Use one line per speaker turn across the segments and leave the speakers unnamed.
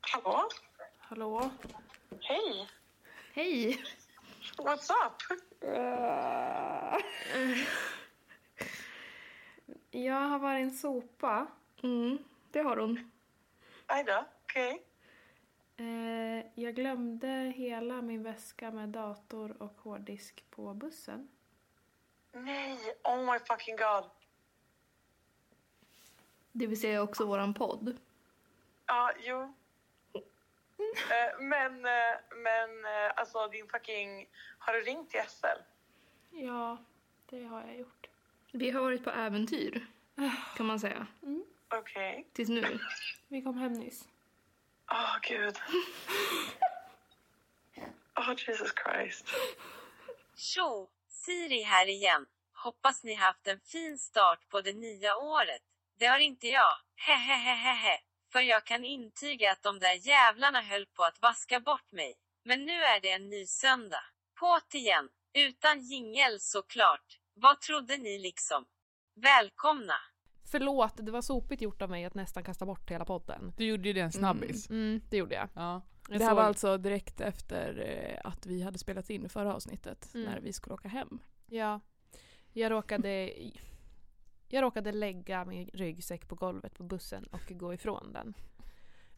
Hallå?
Hallå?
Hej!
Hej!
What's up?
Jag har varit en sopa. Mm, det har hon.
Aj då, okej.
Eh, jag glömde hela min väska med dator och hårddisk på bussen.
Nej, oh my fucking god.
Det vill säga också våran podd.
Ja, jo. Eh, Men, eh, men eh, alltså din fucking... Har du ringt till SL?
Ja, det har jag gjort. Ah.
Vi har varit på äventyr, kan man säga.
Okej.
Tills nu.
Vi kom hem nyss.
Åh gud. Åh Jesus Christ.
Tjo! Siri här igen. Hoppas ni haft en fin start på det nya året. Det har inte jag. Hehehehehe. För jag kan intyga att de där jävlarna höll på att vaska bort mig. Men nu är det en ny söndag. På't igen. Utan jingel såklart. Vad trodde ni liksom? Välkomna!
Förlåt, det var sopigt gjort av mig att nästan kasta bort hela podden.
Du gjorde ju det en snabbis.
Mm, det gjorde jag.
Ja.
jag
det här
såg-
var alltså direkt efter eh, att vi hade spelat in förra avsnittet
Mm.
när vi skulle åka hem.
Ja. Jag råkade... Jag råkade lägga min ryggsäck på golvet på bussen och gå ifrån den.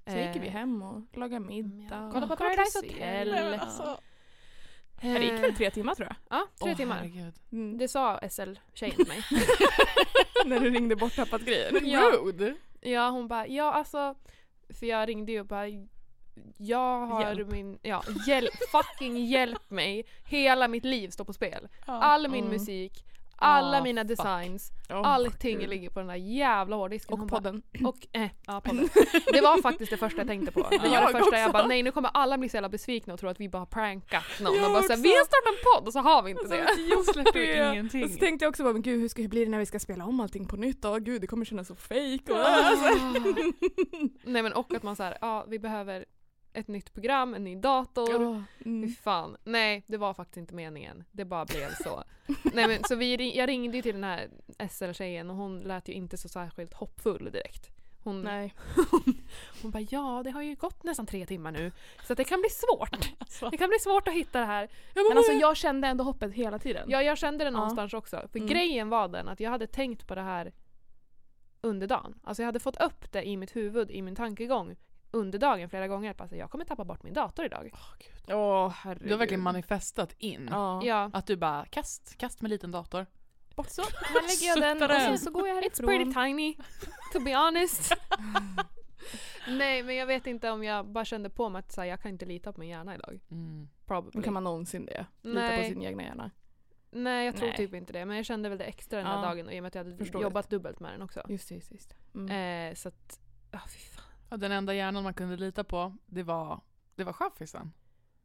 Eh,
Så gick vi hem och lagade middag.
Kolla på
och
Paradise
serier.
Hotel.
Nej, men Alltså, det gick väl tre timmar tror jag.
eh, Ja, tre
Åh,
timmar.
herregud.
Mm.
Det sa SL-tjejen till mig.
när du ringde borttappat grejer.
Ja.
Rude!
Ja, hon bara, ja alltså. För jag ringde ju och bara, jag har
Hjälp.
min, ja, hjälp, fucking hjälp mig. Hela mitt liv står på spel. All min
Mm.
musik, alla
Ah,
mina
fuck.
designs,
Åh,
allting
gud.
ligger på den där jävla hårddisken. Hon
Och podden.
Bara, och, eh, ja, podden. Det var faktiskt det första jag tänkte på. Det var
Jag
det första jag
också.
bara, nej nu kommer alla bli så jävla besvikna och tro att vi bara har prankat någon.
Jag
och bara, så här,
också.
vi har startat en podd och så har vi inte
Alltså,
det.
Jag släpper
Det-
ju ingenting.
Och så tänkte jag också bara, men gud hur ska det bli när vi ska spela om allting på nytt? Åh gud det kommer kännas så fejk. och- Alltså,
nej men och att man såhär, ja vi behöver ett nytt program, en ny dator. Fy
mm.
fan. Nej, det var faktiskt inte meningen. Det bara blev så. Nej, men, så vi, ring- jag ringde ju till den här SL-tjejen och hon lät ju inte så särskilt hoppfull direkt. Hon,
Nej.
hon bara ja, det har ju gått nästan tre timmar nu så att det kan bli svårt. Det kan bli svårt att hitta det här.
Men alltså jag kände ändå hoppet hela tiden.
Ja, jag kände det någonstans också. För
Mm.
grejen var den att jag hade tänkt på det här under dagen. Alltså jag hade fått upp det i mitt huvud, i min tankegång under dagen flera gånger. Att alltså, jag kommer tappa bort min dator idag.
Åh, gud.
Åh herregud.
Du har verkligen manifestat in.
Ja.
Ja.
Att du bara kast, kast med liten dator.
Bort så. Här lägger jag den
Suttar
och sen
den.
så går jag
It's
härifrån.
pretty tiny, to be honest. Nej, men jag vet inte om jag bara kände på mig att så här, jag kan inte lita på min hjärna idag.
Mm.
Probably.
Kan man någonsin det? Lita
Nej.
på sin egna hjärna.
Nej, jag tror
Nej.
typ inte det. Men jag kände väl det extra den här
Ja.
dagen och i och med att jag hade
Förståeligt.
jobbat dubbelt med den också.
Just det, just det. just det. Mm.
Eh, så att, ja fy fan.
Ja, den enda hjärnan man kunde lita på, det var, det var chaffisen.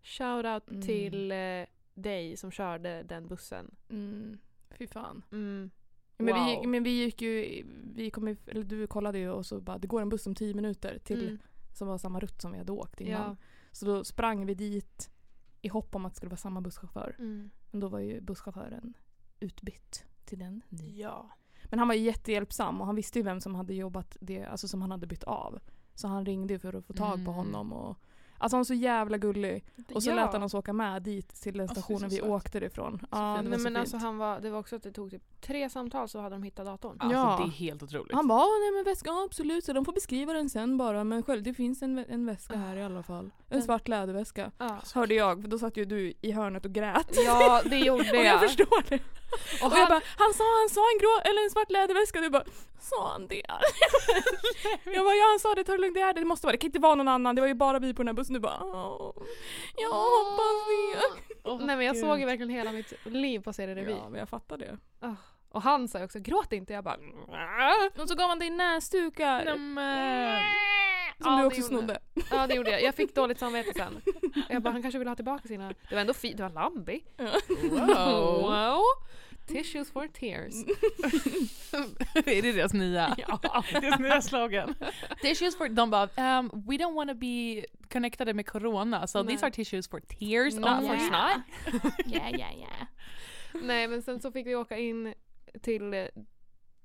Shoutout
Mm.
till eh, dig som körde den bussen.
Mm. Fy fan.
Mm.
Men,
Wow.
vi, gick- men vi gick ju, vi kom, i- eller du kollade ju och så bara det går en buss om tio minuter till
Mm.
som var samma rutt som vi hade åkt innan.
Ja.
Så då sprang vi dit i hopp om att det skulle vara samma busschaufför.
Mm.
Men då var ju busschauffören utbytt till den nya.
Ja.
Men han var ju jättehjälpsam och han visste ju vem som hade jobbat det, alltså som han hade bytt av. Så han ringde ju för att få tag på
Mm.
honom och Alltså han var så jävla gullig. Och så
ja.
lät han oss åka med dit till den
Alltså, det är
stationen
så
vi
söt.
åkte ifrån. Ja,
fint.
det var
Nej,
så
men
fint.
alltså, han var, det var också att det tog typ tre samtal så hade de hittat datorn.
Alltså
Ja.
det är helt otroligt.
Han bara, "Ah, nej men väska, ja, absolut, så de får beskriva den sen bara. Men själv, det finns en, vä- en väska här i alla fall. En
Den-
svart läderväska.
Ja.
Hörde jag, för då satt ju du i hörnet och grät.
Ja, det gjorde
Och jag förstår det. Och,
han-
jag bara, han sa, han sa en grå, eller en svart läderväska. Du bara, sa han det? jag bara, ja han sa det, ta det lugnt, det är det, det måste vara det. Det kan inte vara någon annan, det var ju bara vi på den här bussen. Du bara, "Åh, jag hoppas det.
Åh,
Nej men jag
gud.
såg ju verkligen hela mitt liv passera revy.
Ja, men jag fattar det.
Och han sa ju också gråt inte, jag bara
Och så gav han dig näsdukar. Som
Ja,
du
det
också
gjorde
snodde.
Ja det gjorde jag, jag fick dåligt samvete sen. Jag bara han kanske vill ha tillbaka sina, det var ändå fint, det var Lambi. Mm.
Wow.
Wow! Tissues for tears.
är det deras nya, deras nya slogan? tissues for, de bara, um, we don't wanna be connected med corona, so these are tissues for tears.
Not
only."
for snot.
Ja, ja, ja.
Nej men sen så fick vi åka in
Mm.
till eh,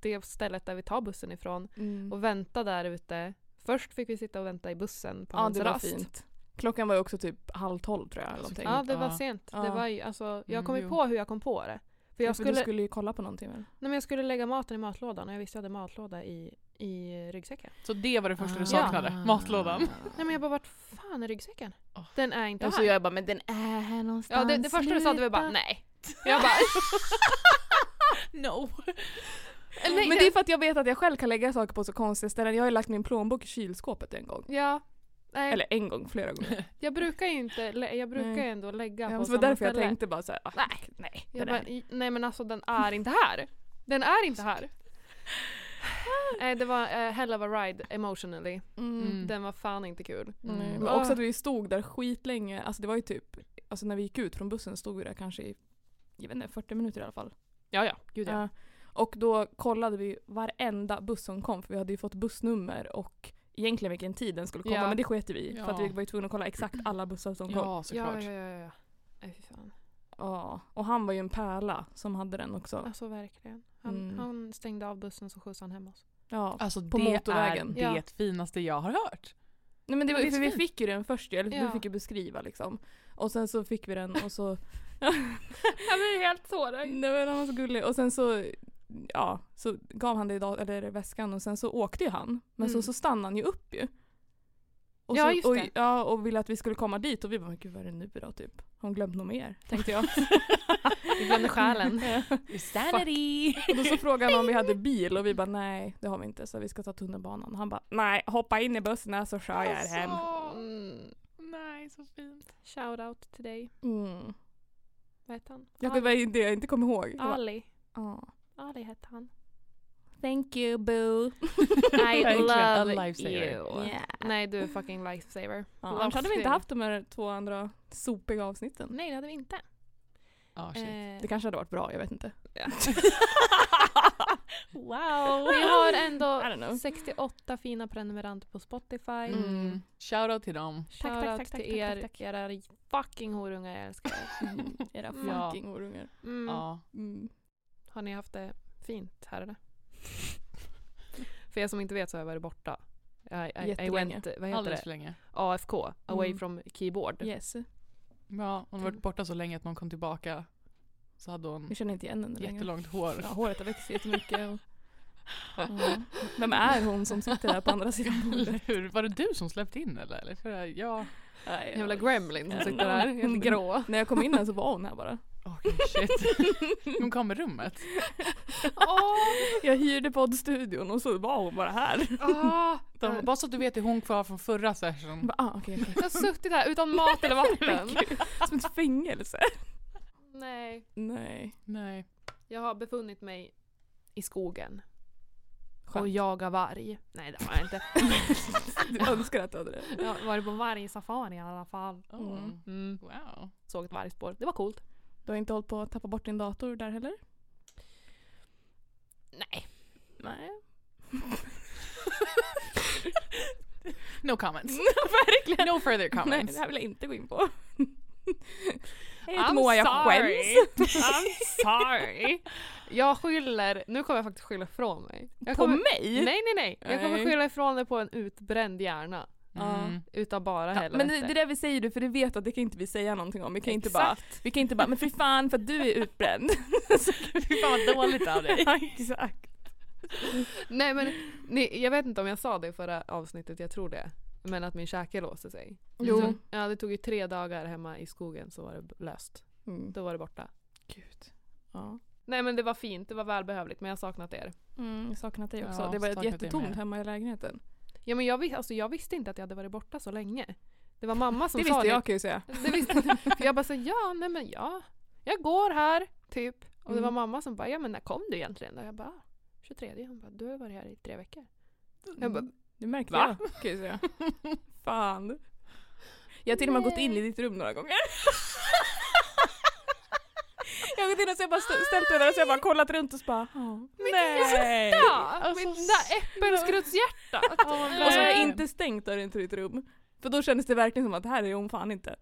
det stället där vi tar bussen ifrån och vänta där ute Först fick vi sitta och vänta i bussen på
Ja,
hans
det var
rast.
fint. Klockan var ju också typ halv tolv tror jag. Eller någonting.
Ja, det var
Ja.
sent. Det
Ja.
var ju, alltså, jag
Mm,
kom ju
jo.
på hur jag kom på det. För
Ja,
jag
för Du
skulle,
skulle ju kolla på någonting väl?
Nej, men jag skulle lägga maten i matlådan och jag visste jag hade matlåda i, i ryggsäcken.
Så det var det första
Ah.
du saknade? Matlådan?
Nej men jag bara vart fan är ryggsäcken?
Åh.
Den är inte
Och så
här.
jag bara, men den är här någonstans.
ja, det, det första du sa det var bara
sluta.
nej. Jag bara,
No.
eller nej,
Men det är för att jag vet att jag själv kan lägga saker på så konstiga ställen. Jag har ju lagt min plånbok i kylskåpet en gång.
Ja. Nej,
Eller en gång, flera gånger.
jag brukar ju inte, lä- jag brukar
Nej.
ju ändå lägga
Ja,
på
så det var
samma
därför jag
ställe.
tänkte bara såhär, ah, nej, nej.
Jag
den
bara,
är-
i- nej men alltså den är inte här. Den är inte här. Nej det var eh, hell of a ride emotionally.
Mm.
Den var fan inte kul.
Nej, men
Ah.
också att vi stod där skitlänge. Alltså det var ju typ, alltså när vi gick ut från bussen stod vi där kanske i, jag vet inte, 40 minuter i alla fall.
Ja ja, gud ja.
Ja. Och då kollade vi varenda buss som kom för vi hade ju fått bussnummer och egentligen vilken tid den skulle komma
Ja.
men det sket vi i för att vi
Ja.
var ju tvungna att kolla exakt alla bussar som kom.
Ja,
Ja ja
såklart.
ja ja. ja. Nej fy fan.
Ja. Och han var ju en pärla som hade den också.
Alltså verkligen. Han,
Mm.
han stängde av bussen så skjutsade han hem oss.
Ja.
Alltså
På
det
motorvägen.
är det
Ja.
finaste jag har hört.
Nej men det var
det
ju,
är
för vi
fint.
fick ju den först ju, eller
Ja.
du fick ju beskriva liksom. Och sen så fick vi den och så...
Han blir helt tårögd.
Nej men han var så gullig. Och sen så, ja, så gav han det i dat- eller väskan och sen så åkte ju han. Men
Mm.
så, så stannade han ju upp ju. Och
Ja,
så,
just
och,
det.
Ja, och ville att vi skulle komma dit och vi bara, men gud vad är det nu då typ? Har hon glömt något mer? Tänkte jag.
Vi glömde själen.
Sanity!
och då så frågade han om vi hade bil och vi bara, nej det har vi inte så vi ska ta tunnelbanan. Och han bara, nej hoppa in i bussen så kör jag er hem.
Mm.
Nej, så fint.
Shout out till dig.
Mm.
Vad hette han?
Ja, det var ju det jag inte kom ihåg. Jag bara,
Ali.
"Ah."
Ali hette han.
Thank you boo.
I
Verkligen, a
love
lifesaver.
you. Nej, du är fucking lifesaver.
Ja, annars hade vi inte
Lifesaver.
haft de här två andra sopiga avsnitten.
Nej, det hade vi inte.
Ja, shit.
Eh,
Det kanske hade varit bra, jag vet inte.
wow! Vi har ändå
I don't know.
68 fina prenumeranter på Spotify.
Mm. Shoutout till dem.
Shout tack, tack, tack, till er, era fucking horungar, jag älskar er.
Era
Ja.
fucking horungar.
Mm.
Ja.
Mm.
Har ni haft det fint här eller? För er som inte vet så har jag varit borta. I, I, I
Jättelänge.
went, vad heter
Alldeles
det?
för länge.
AFK, away
Mm.
from keyboard.
Yes.
Ja, hon har varit borta så länge att när hon kom tillbaka så hade hon
Jag känner inte igen henne längre.
jättelångt hår.
Ja, håret har växt jättemycket. Och, ja. Vem är hon som sitter här på andra sidan
Eller
bordet?
hur? Var det du som släppte in eller? eller? För jag...
Nej, jag-
Jävla gremlin som
Ja.
sitter där, helt grå.
När jag kom in här så var hon här bara.
Oh,
Okej, shit. Hon kom i rummet.
Jag hyrde poddstudion och så var hon bara här.
Ah, de, bara så att du vet är hon kvar från förra
Jag
session.
bara, ah, okej, okej.
Jag har suttit här utan mat eller vatten.
Som ett fängelse.
Nej,
Nej.
Nej.
jag har befunnit mig i skogen.
Skönt.
Och jagar varg. Nej det har jag inte.
Du önskar att du hade det.
Jag har varit på vargsafari i alla fall.
Oh,
Mm.
Mm.
Wow.
Såg ett vargspår. Det var coolt.
Du har inte hållit på att tappa bort din dator där heller?
Nej.
Nej.
No comments.
Verkligen.
No further
Nej,
comments.
det här vill jag inte gå in på. Hej
I'm
heter Moa, jag
sorry.
skäms.
I'm sorry. Jag skyller, nu kommer jag faktiskt skylla ifrån mig. Jag
På
kommer,
mig?
Nej nej nej. Jag kommer
Nej.
skylla ifrån mig på en utbränd hjärna.
Mm.
Utav bara
Ja,
helvete.
men det, det där vi säger du, för det vet att det kan inte vi säga någonting om. Vi kan, inte bara,
Exakt.
vi kan inte bara, men fy fan för att du är utbränd.
Fy fan vad dåligt av dig.
ja, exakt.
Nej men ni, jag vet inte om jag sa det i förra avsnittet, jag tror det. Men att min käke låste sig.
Jo.
Så, ja det tog ju tre dagar hemma i skogen så var det löst.
Mm.
Då var det borta.
Gud.
Ja.
Nej men det var fint, det var välbehövligt men jag har saknat er.
Mm, jag saknat dig också.
Ja,
det var ett
saknat dig
jättetomt
med.
hemma i lägenheten.
Ja men jag, vis- alltså, jag visste inte att jag hade varit borta så länge. Det var mamma som
det
sa
visste jag kan jag ju säga.
Det visste jag. För jag bara så ja nej men ja, jag går här typ. Och det
Mm.
var mamma som bara ja men när kom du egentligen? Och jag bara "Ah, 23. Hon bara du har ju varit här i tre veckor. Jag bara,
Det märkte
Va?
jag kan jag säga. Fan. Jag har till och med gått in i ditt rum några gånger. Jag har gått in och så jag bara st- ställt mig där och så jag bara kollat runt och så bara "Ja."
Nej! Alltså,
ja, mitt där Alltså, äppelskruttshjärtat!
Och så har jag
Nej.
inte stängt dörren till ditt rum. För då kändes det verkligen som att här är hon fan inte.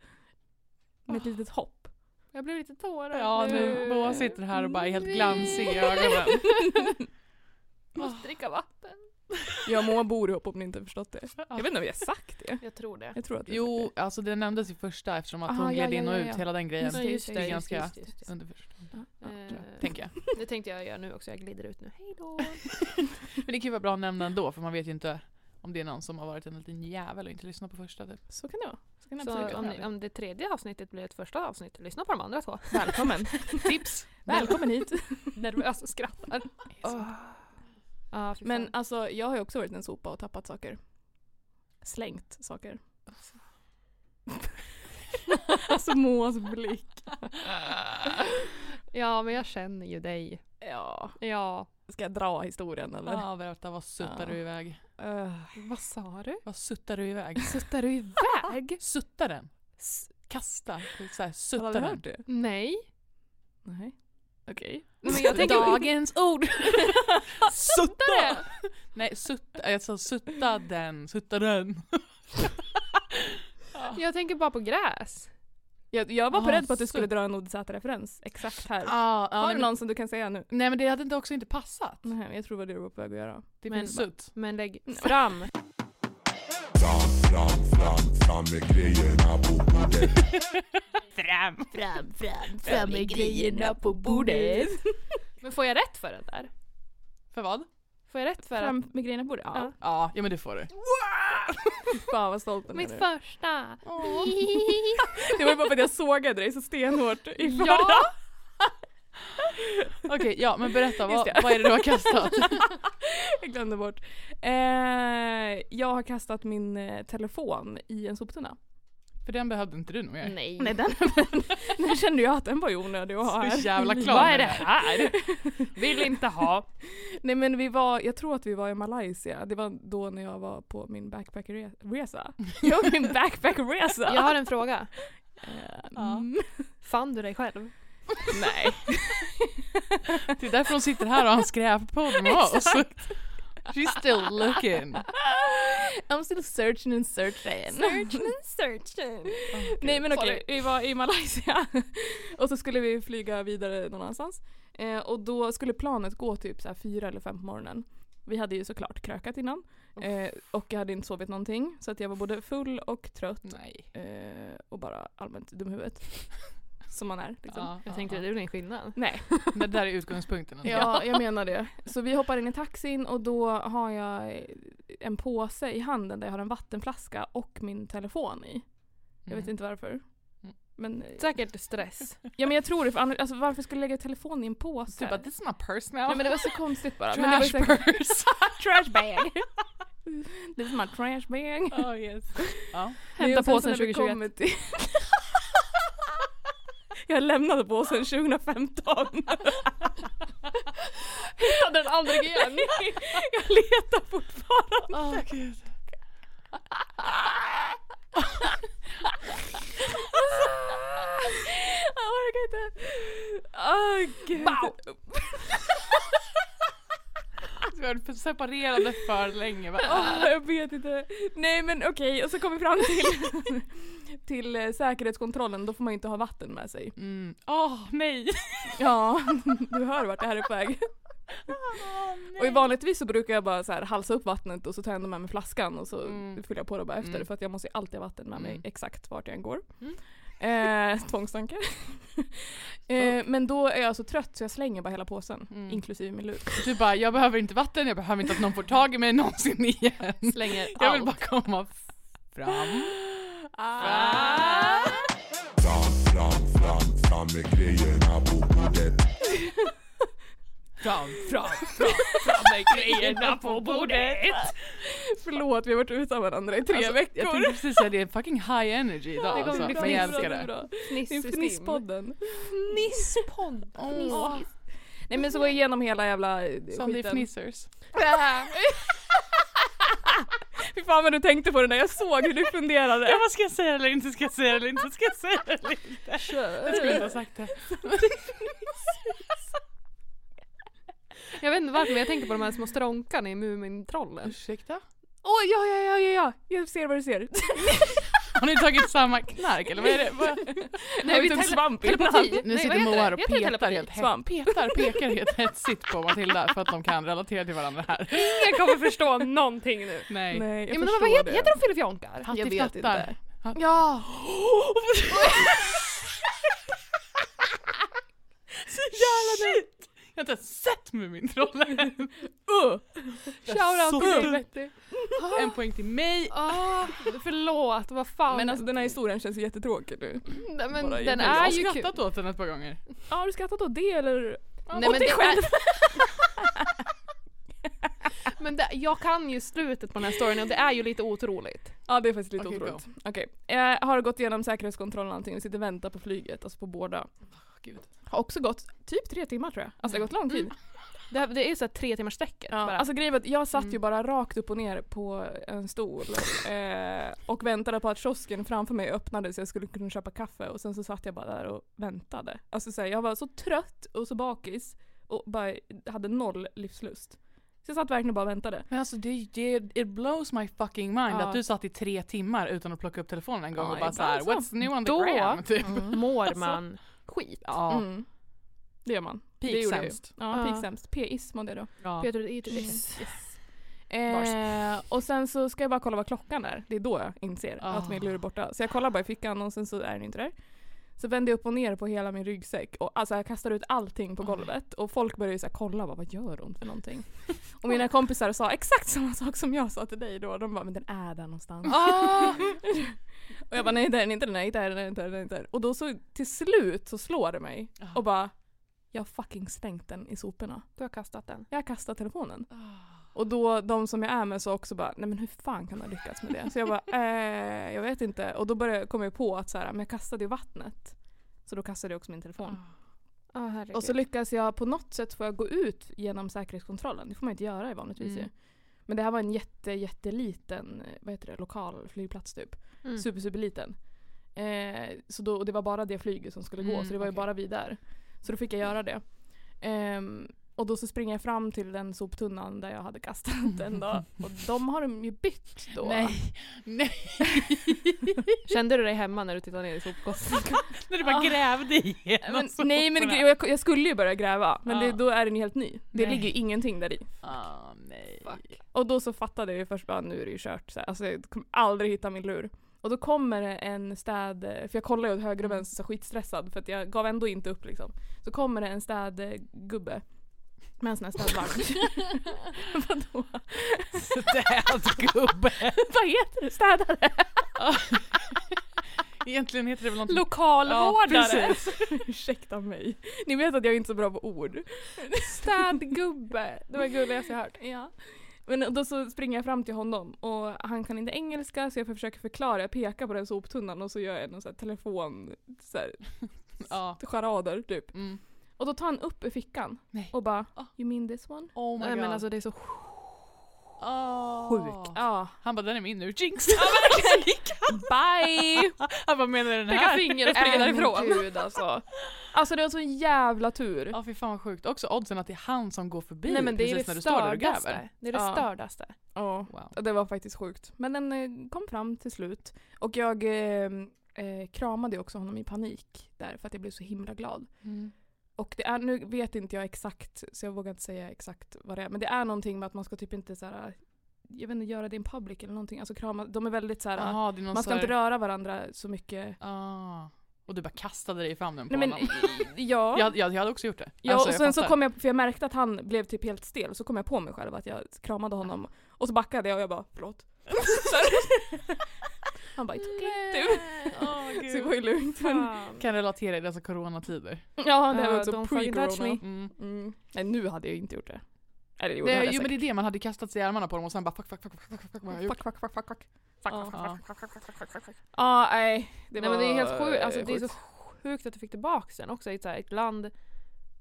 Med ett litet hopp.
Jag blev lite tårögd
Ja, nu Moa sitter här och bara är helt glansig i ögonen.
Måste dricka vatten.
Jag och Moa bor ihop om ni inte har förstått det. Jag vet inte om vi har sagt det.
Jag tror det.
Jag tror att vi har
Jo, alltså det nämndes i första eftersom att
Aha,
hon
ja,
gled in
ja,
och
ja,
ut
ja.
hela den grejen.
Nej, just
det
det,
är
just,
ganska
just, just, just.
underförstått,
Eh,
tänker jag.
Det tänkte jag göra nu också, jag glider ut nu. Hej då!
Men det kan ju vara bra att nämna ändå för man vet ju inte om det är någon som har varit en liten jävel och inte lyssnat på första typ.
sagt det. Så kan det vara. Så kan det absolut
Så om,
vara.
ni, om det tredje avsnittet blir ett första avsnitt, lyssna på de andra två.
Välkommen.
Tips!
Välkommen hit.
Nervösa skrattar. Ja, fy fan.
Men alltså jag har ju också varit en sopa och tappat saker. Slängt saker. alltså Moas blick.
ja, men jag känner ju dig.
Ja.
Ja.
Ska jag dra historien eller?
Ja, berätta vad suttar
Ja.
du iväg?
Öh.
Vad sa du?
Vad suttar du iväg?
Suttar du iväg?
Sutta den! Kasta! typ Så här, sutta
Har du
den.
hört det?
Nej.
Nej. Okej.
Men jag tänker...
Dagens ord! sutta! Nej, sutta, jag sa sutta den, sutta den.
Jag tänker bara på gräs.
Jag, jag var på
Ah,
rädd på att du
så-
skulle dra en Oddsäter-referens exakt här.
Ah, ah,
har
nej,
du
men,
någon som du kan säga nu?
nej men det hade inte också inte passat.
Nej, jag tror vad det du var på väg att göra.
Det
Men-
finns sutt.
Men lägg fram.
Fram, fram, fram med grejerna på bordet.
Men får jag rätt för den där?
För vad?
Får jag rätt för att...
Fram med grejerna på bordet? Ja.
Ja.
Ja, ja men det får du.
Fan vad stolt den är
Mitt
nu.
första!
Det var ju bara för att jag sågade dig så stenhårt i förra.
Ja!
Okej, ja men berätta
Just
vad,
det.
vad är det du har kastat?
Jag glömde bort. Eh, jag har kastat min eh, telefon i en soptunna.
För den behövde inte du nog göra.
Nej.
Nej, den, den kände jag att den var ju onödig att ha
Så
här.
jävla klar
Vad
med
är det här? Vill inte ha.
Nej men vi var, jag tror att vi var i Malaysia. Det var då när jag var på min backpackerresa. Jag var på min backpackerresa.
Jag har en fråga.
Eh, mm.
Fann du dig själv?
Nej.
Det är därför hon sitter här och har en skräppodd med oss. She's still looking.
I'm still searching and searching.
Searching and searching.
Nej men okej, vi var i Malaysia och så skulle vi flyga vidare någon annanstans. Eh, och då skulle planet gå typ så här fyra eller fem på morgonen. Vi hade ju såklart krökat innan eh, och jag hade inte sovit någonting så att jag var både full och trött
Nej.
eh, och bara allmänt dum i huvudet. Som man är liksom.
Ja,
Jag tänkte det är väl ingen skillnad.
Nej,
Men det där är utgångspunkten. ändå.
ja, jag menar det. Så vi hoppar in i taxin och då har jag eh, en påse i handen där jag har en vattenflaska och min telefon i. Jag vet
Mm.
inte varför.
Mm.
Men eh,
Säkert stress.
Ja men jag tror det, för annars, alltså, varför skulle jag lägga telefonen i en påse?
Typ att this is my purse now.
Nej men det var så konstigt bara. men det var
Trash
ju säkert-
purse.
trash bag! det är som en trash bag.
oh, yes. ja.
Nej, och sen
påsen
så när
2021.
vi kommer till- jag lämnade påsen 2015. Hittade den aldrig igen. jag letar fortfarande.
Oh, gud.
Jag orkar inte. Åh gud.
Vi har varit separerade för länge. Va?
Åh, jag vet inte. Nej men okej, och så kom vi fram till, till eh, säkerhetskontrollen, då får man ju inte ha vatten med sig.
Mm. Åh, nej.
Ja, du hör vart det här är på väg. Och i vanligtvis så brukar jag bara så här halsa upp vattnet och så tar jag ändå med mig flaskan och så
Mm.
fyller jag på det bara efter
Mm.
för att jag måste ju alltid ha vatten med mig
Mm.
exakt vart jag än går.
Mm.
Eh, tvångstanke. eh, men då är jag så trött så jag slänger bara hela påsen,
Mm.
inklusive min lur.
Du bara, jag behöver inte vatten, jag behöver inte att någon får tag i mig någonsin igen.
Slänger
Jag vill
allt.
bara komma fram.
Ah.
Fram, fram, fram, fram med grejerna på bordet.
Förlåt, vi har varit utan varandra i tre
Alltså,
veckor.
Jag tänkte precis säga det är fucking high energy idag.
Det kommer
alltså.
bli
Men jag
fniss.
älskar det.
Det är
Fnisspodd.
Fnisspodden.
Fnisspodd.
Åh. Nej men så går jag igenom hela jävla eh,
Som det är
skiten.
fnissers.
Fy fan vad du tänkte på det där, jag såg hur du funderade.
vad ska jag säga eller inte ska jag säga eller inte ska jag säga eller inte. Jag skulle inte ha sagt det.
Jag vet inte varför men jag tänker på de här små stronkarna i Mumintrollen.
Ursäkta?
Åh ja, ja, ja, ja, ja, jag ser vad du ser.
Har ni tagit samma knark eller vad är det? Vad-
Nej, vi tog
tele-
svamp
Telepati!
innan.
Nu
Nej,
sitter
vad heter
Moa
det?
och
Heter det
petar
telepati?
helt hett.
Svamp.
Petar pekar helt hetsigt på Matilda för att de kan relatera till varandra här.
Ingen kommer förstå någonting nu.
Nej.
Nej, jag
Ja, men
förstår
vad heter,
det.
heter de filifjonkar?
Hattifnattar.
Jag vet inte.
Ja! Så jävla Shit! Jag har inte ens sett Mumintrollen! uh.
Shoutout till dig
Shoutout
Betty.
En poäng till mig.
Ah, förlåt, vad fan.
Men alltså den här historien känns ju jättetråkig nu.
Nej, men
bara
den
Jag har
är ju kul.
skrattat åt den ett par gånger.
Ja, har du skrattat åt det eller?
Nej,
åt
men
dig
det
själv!
Men det, jag kan ju slutet på den här storyn och det är ju lite otroligt.
Ja det är faktiskt lite
Okej,
otroligt. Okej, jag har gått igenom säkerhetskontrollen och allting och sitter och väntar på flyget, alltså på båda.
Gud.
Har också gått typ tre timmar tror jag. Alltså det har gått lång tid.
Det, här, det är ju såhär tre timmars sträcket
Ja.
bara.
Alltså grejen var att jag satt ju bara rakt upp och ner på en stol eh, och väntade på att kiosken framför mig öppnades så jag skulle kunna köpa kaffe och sen så satt jag bara där och väntade. Alltså så här, jag var så trött och så bakis och bara hade noll livslust. Så jag satt verkligen och bara väntade.
Men alltså det, det it blows my fucking mind
Ja.
att du satt i tre timmar utan att plocka upp telefonen en gång
Ja,
och bara
ibland
såhär
så.
what's new on the
Då-
gram typ.
mår man skit. liksom?
Ja.
Mm. Det gör man.
Peak
det gjorde jag ju.
sämst.
Ja,
Ja.
peak sämst. P-is var det då.
Ja.
Peter, det är ju- typ-
Yes.
Yes.
Eh, och sen så ska jag bara kolla vad klockan är. Det är då jag inser
Ah.
att min lur är borta. Så jag kollar bara i fickan och sen så är den inte där. Så vänder jag upp och ner på hela min ryggsäck och alltså jag kastar ut allting
Ah.
på golvet och folk börjar ju så här kolla bara, vad gör hon för någonting? Och mina kompisar sa exakt samma sak som jag sa till dig då. De bara men den är där någonstans.
Ah.
och jag bara nej det är den inte, den är inte där, den är inte där, den är inte där. Och då så till slut så slår det mig
Ah.
och bara jag har fucking slängt den i soporna.
Du har kastat den.
Jag kastar telefonen.
Ah.
Och då de som jag är med sa också bara, nej men hur fan kan du ha lyckats med det? Så jag bara, eh, jag vet inte. Och då började, kom jag på att så här, men jag kastade i vattnet. Så då kastade jag också min telefon.
Ja, herregud.
Och så lyckas jag på något sätt få jag gå ut genom säkerhetskontrollen. Det får man inte göra vanligtvis
Mm.
ju. Men det här var en jätte, jätteliten, eh, vad heter det, lokal flygplats typ.
Mm.
Super, superliten. Eh, så då, och det var bara det flyget som skulle gå
Mm,
så det var ju
okej.
bara vi där. Så då fick jag göra det. Ehm, och då så springer jag fram till den soptunnan där jag hade kastat den då. Och de har de ju bytt då.
Nej. Nej.
Kände du dig hemma när du tittade ner i sopgossen?
När du bara
Ah.
grävde igenom
Men,
soporna.
nej men gre- jag, jag skulle ju börja gräva men det,
alltså, Ja.
då är den ju helt ny. Det
Nej.
ligger ju ingenting där i.
Ah, nej.
Och då så fattade jag ju först bara nu är det ju kört. Så här, alltså, jag kommer aldrig hitta min lur. Och då kommer det en städ, för jag kollar ju åt höger och vänster så skitstressad för att jag gav ändå inte upp liksom. Så kommer det en städgubbe med en sån här städvagn. Vadå?
Städgubbe.
Vad heter det? Städare?
Egentligen heter det väl någonting...
Lokalvårdare?
Ja,
Ursäkta mig. Ni vet att jag är inte så bra på ord. Städgubbe. Det var det gulligaste jag hört. Ja. Men då så springer jag fram till honom och han kan inte engelska så jag försöker förklara. Jag pekar på den soptunnan och så gör jag någon så här telefon... Så här,
Ja.
charader typ.
Mm.
Och då tar han upp ur fickan
Nej.
och bara
Ah.
“You mean this one?”
Oh my
Nej
god.
men alltså det är så
Ah.
Sjukt. Ja.
Han bara den är min nu, jinx!
Bye!
Han bara menar den
Pekar
här?
finger
Nej,
och springer
men
därifrån.
Gud alltså.
Alltså det var sån jävla tur.
Ja fy fan vad sjukt. Också oddsen att det är han som går förbi
Nej men det är
precis
det
när du står där och
stördaste.
gräver.
Det är det
Ja.
stördaste.
Ja.
Wow.
Och Det var faktiskt sjukt. Men den eh, kom fram till slut. Och jag eh, eh, kramade också honom i panik där för att jag blev så himla glad. Och det är, nu vet inte jag exakt så jag vågar inte säga exakt vad det är. Men det är någonting med att man ska typ inte så här, jag vet inte, göra det in public eller någonting. Alltså krama, de är väldigt så här,
Jaha, det är någon
man ska
så
inte
här-
röra varandra så mycket.
Ah. Och du bara kastade dig i famnen på
Nej men
honom.
ja.
Jag, jag, jag hade också gjort det.
Ja,
Alltså,
och
jag
sen så
fattar.
kom jag, för jag märkte att han blev typ helt stel, så kom jag på mig själv att jag kramade honom. Och så backade jag och jag bara förlåt. Så här. han bara it's okay. Typ. Så det var ju lugnt. Men,
Fan.
Kan relatera i dessa coronatider.
ja det här var
Ja,
också
don't fucking touch
pre-corona.
me.
Mm.
Mm. Nej nu hade jag ju inte gjort det. Eller jo, det
Det,
hade jag
jo men
säkert.
det är det, man hade kastat sig i armarna på dem och sen bara fuck fuck fuck fuck fuck fuck, fuck vad har jag gjort?
Fuck, fuck, fuck, fuck, fuck.
fuck,
Ja,
fuck, fuck, fuck, fuck, fuck, fuck, fuck, fuck.
Ja, nej. Det
Nej men det är helt
var,
sjukt.
eh,
Alltså, det är så
sjukt.
sjukt att du fick tillbaka den också i ett, så här, ett land.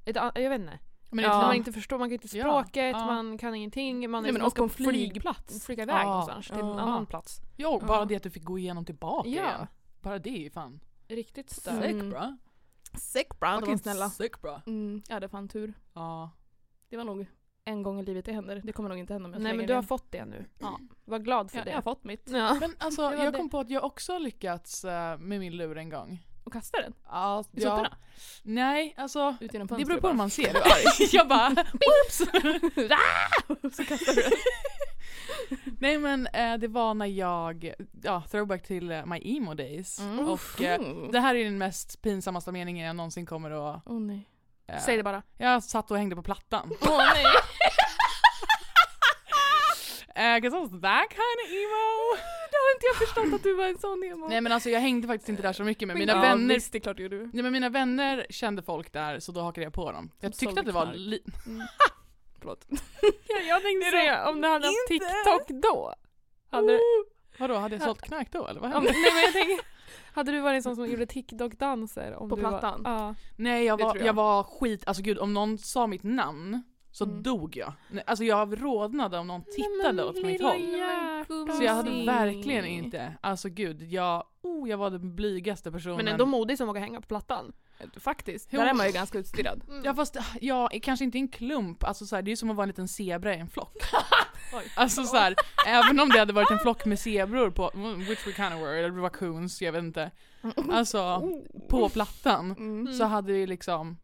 Ett, an- jag vet inte.
Men
Ja.
När Man,
ja.
inte förstår, man kan inte
Ja,
språket,
ja.
man kan ingenting. Man,
Nej,
är-
men
man
och
ska
på en flygplats.
flyga iväg
Ja.
någonstans till en
Ja.
annan plats.
Jo, bara
Ja.
det att du fick gå igenom tillbaka
Ja.
igen. Bara det är ju fan
Riktigt
sick
stört.
Mm.
bra.
Sick bra.
Fucking
snälla.
Sick bra.
Mm, jag hade fan tur.
Ja.
Det var nog en gång i livet det händer. Det kommer nog inte hända om jag
Nej
slänger
men du har
den.
fått det nu.
Ja.
Var glad för
jag,
det.
jag har fått mitt.
Ja.
Men alltså,
Det var
jag
det.
kom på att jag också har lyckats eh, med min lur en gång.
Och kastar den.
Ja,
I
jag-
soporna?
Nej, alltså.
Ut genom
Det
fönstret.
beror på hur man ser hur arg.
bara. jag bara oops! Ah! Så kastar du den.
Nej men eh, det var när jag, ja throwback till eh, my emo days. Och eh,
Mm.
det här är den mest pinsammaste meningen jag någonsin kommer att...
Åh nej.
Eh,
Säg det bara.
Jag satt och hängde på plattan.
Åh nej.
Because Eh, I was that kind of emo.
Det har inte jag förstått att du var en sån emo.
Nej men alltså jag hängde faktiskt inte där så mycket men mina
ja,
vänner
Visst, det är klart det gjorde du.
Nej men mina vänner kände folk där så då hakade jag på dem. Jag
Som
tyckte
sålde
att det var
knark.
li-
Mm. Förlåt. jag, jag tänkte säga om du hade haft
Inte.
TikTok då. Hade,
Oh.
du-
Vadå, hade jag sålt knark då eller vad
om,
hände?
nej men jag tänker,
Hade du varit en sån som gjorde TikTok-danser? om
På
du var-
plattan?
Ja.
Nej jag
Det
var,
tror
jag.
jag.
var skit, alltså gud om någon sa mitt namn så
Mm.
dog jag. Nej, Alltså jag rodnade om någon tittade åt mitt
lilla
håll.
hjärta.
Så jag hade
Pussy.
verkligen inte, alltså gud jag, oh, jag var den blygaste personen.
Men ändå modig som vågar hänga på plattan.
faktiskt, där är man ju ganska utstirrad.
Ja fast, ja, kanske inte i en klump, alltså så här, det är ju som att vara en liten zebra i en flock. alltså så här, även om det hade varit en flock med zebror på, mm, which we kind of were, eller raccoons, jag vet inte. Alltså på plattan
Mm.
så hade vi liksom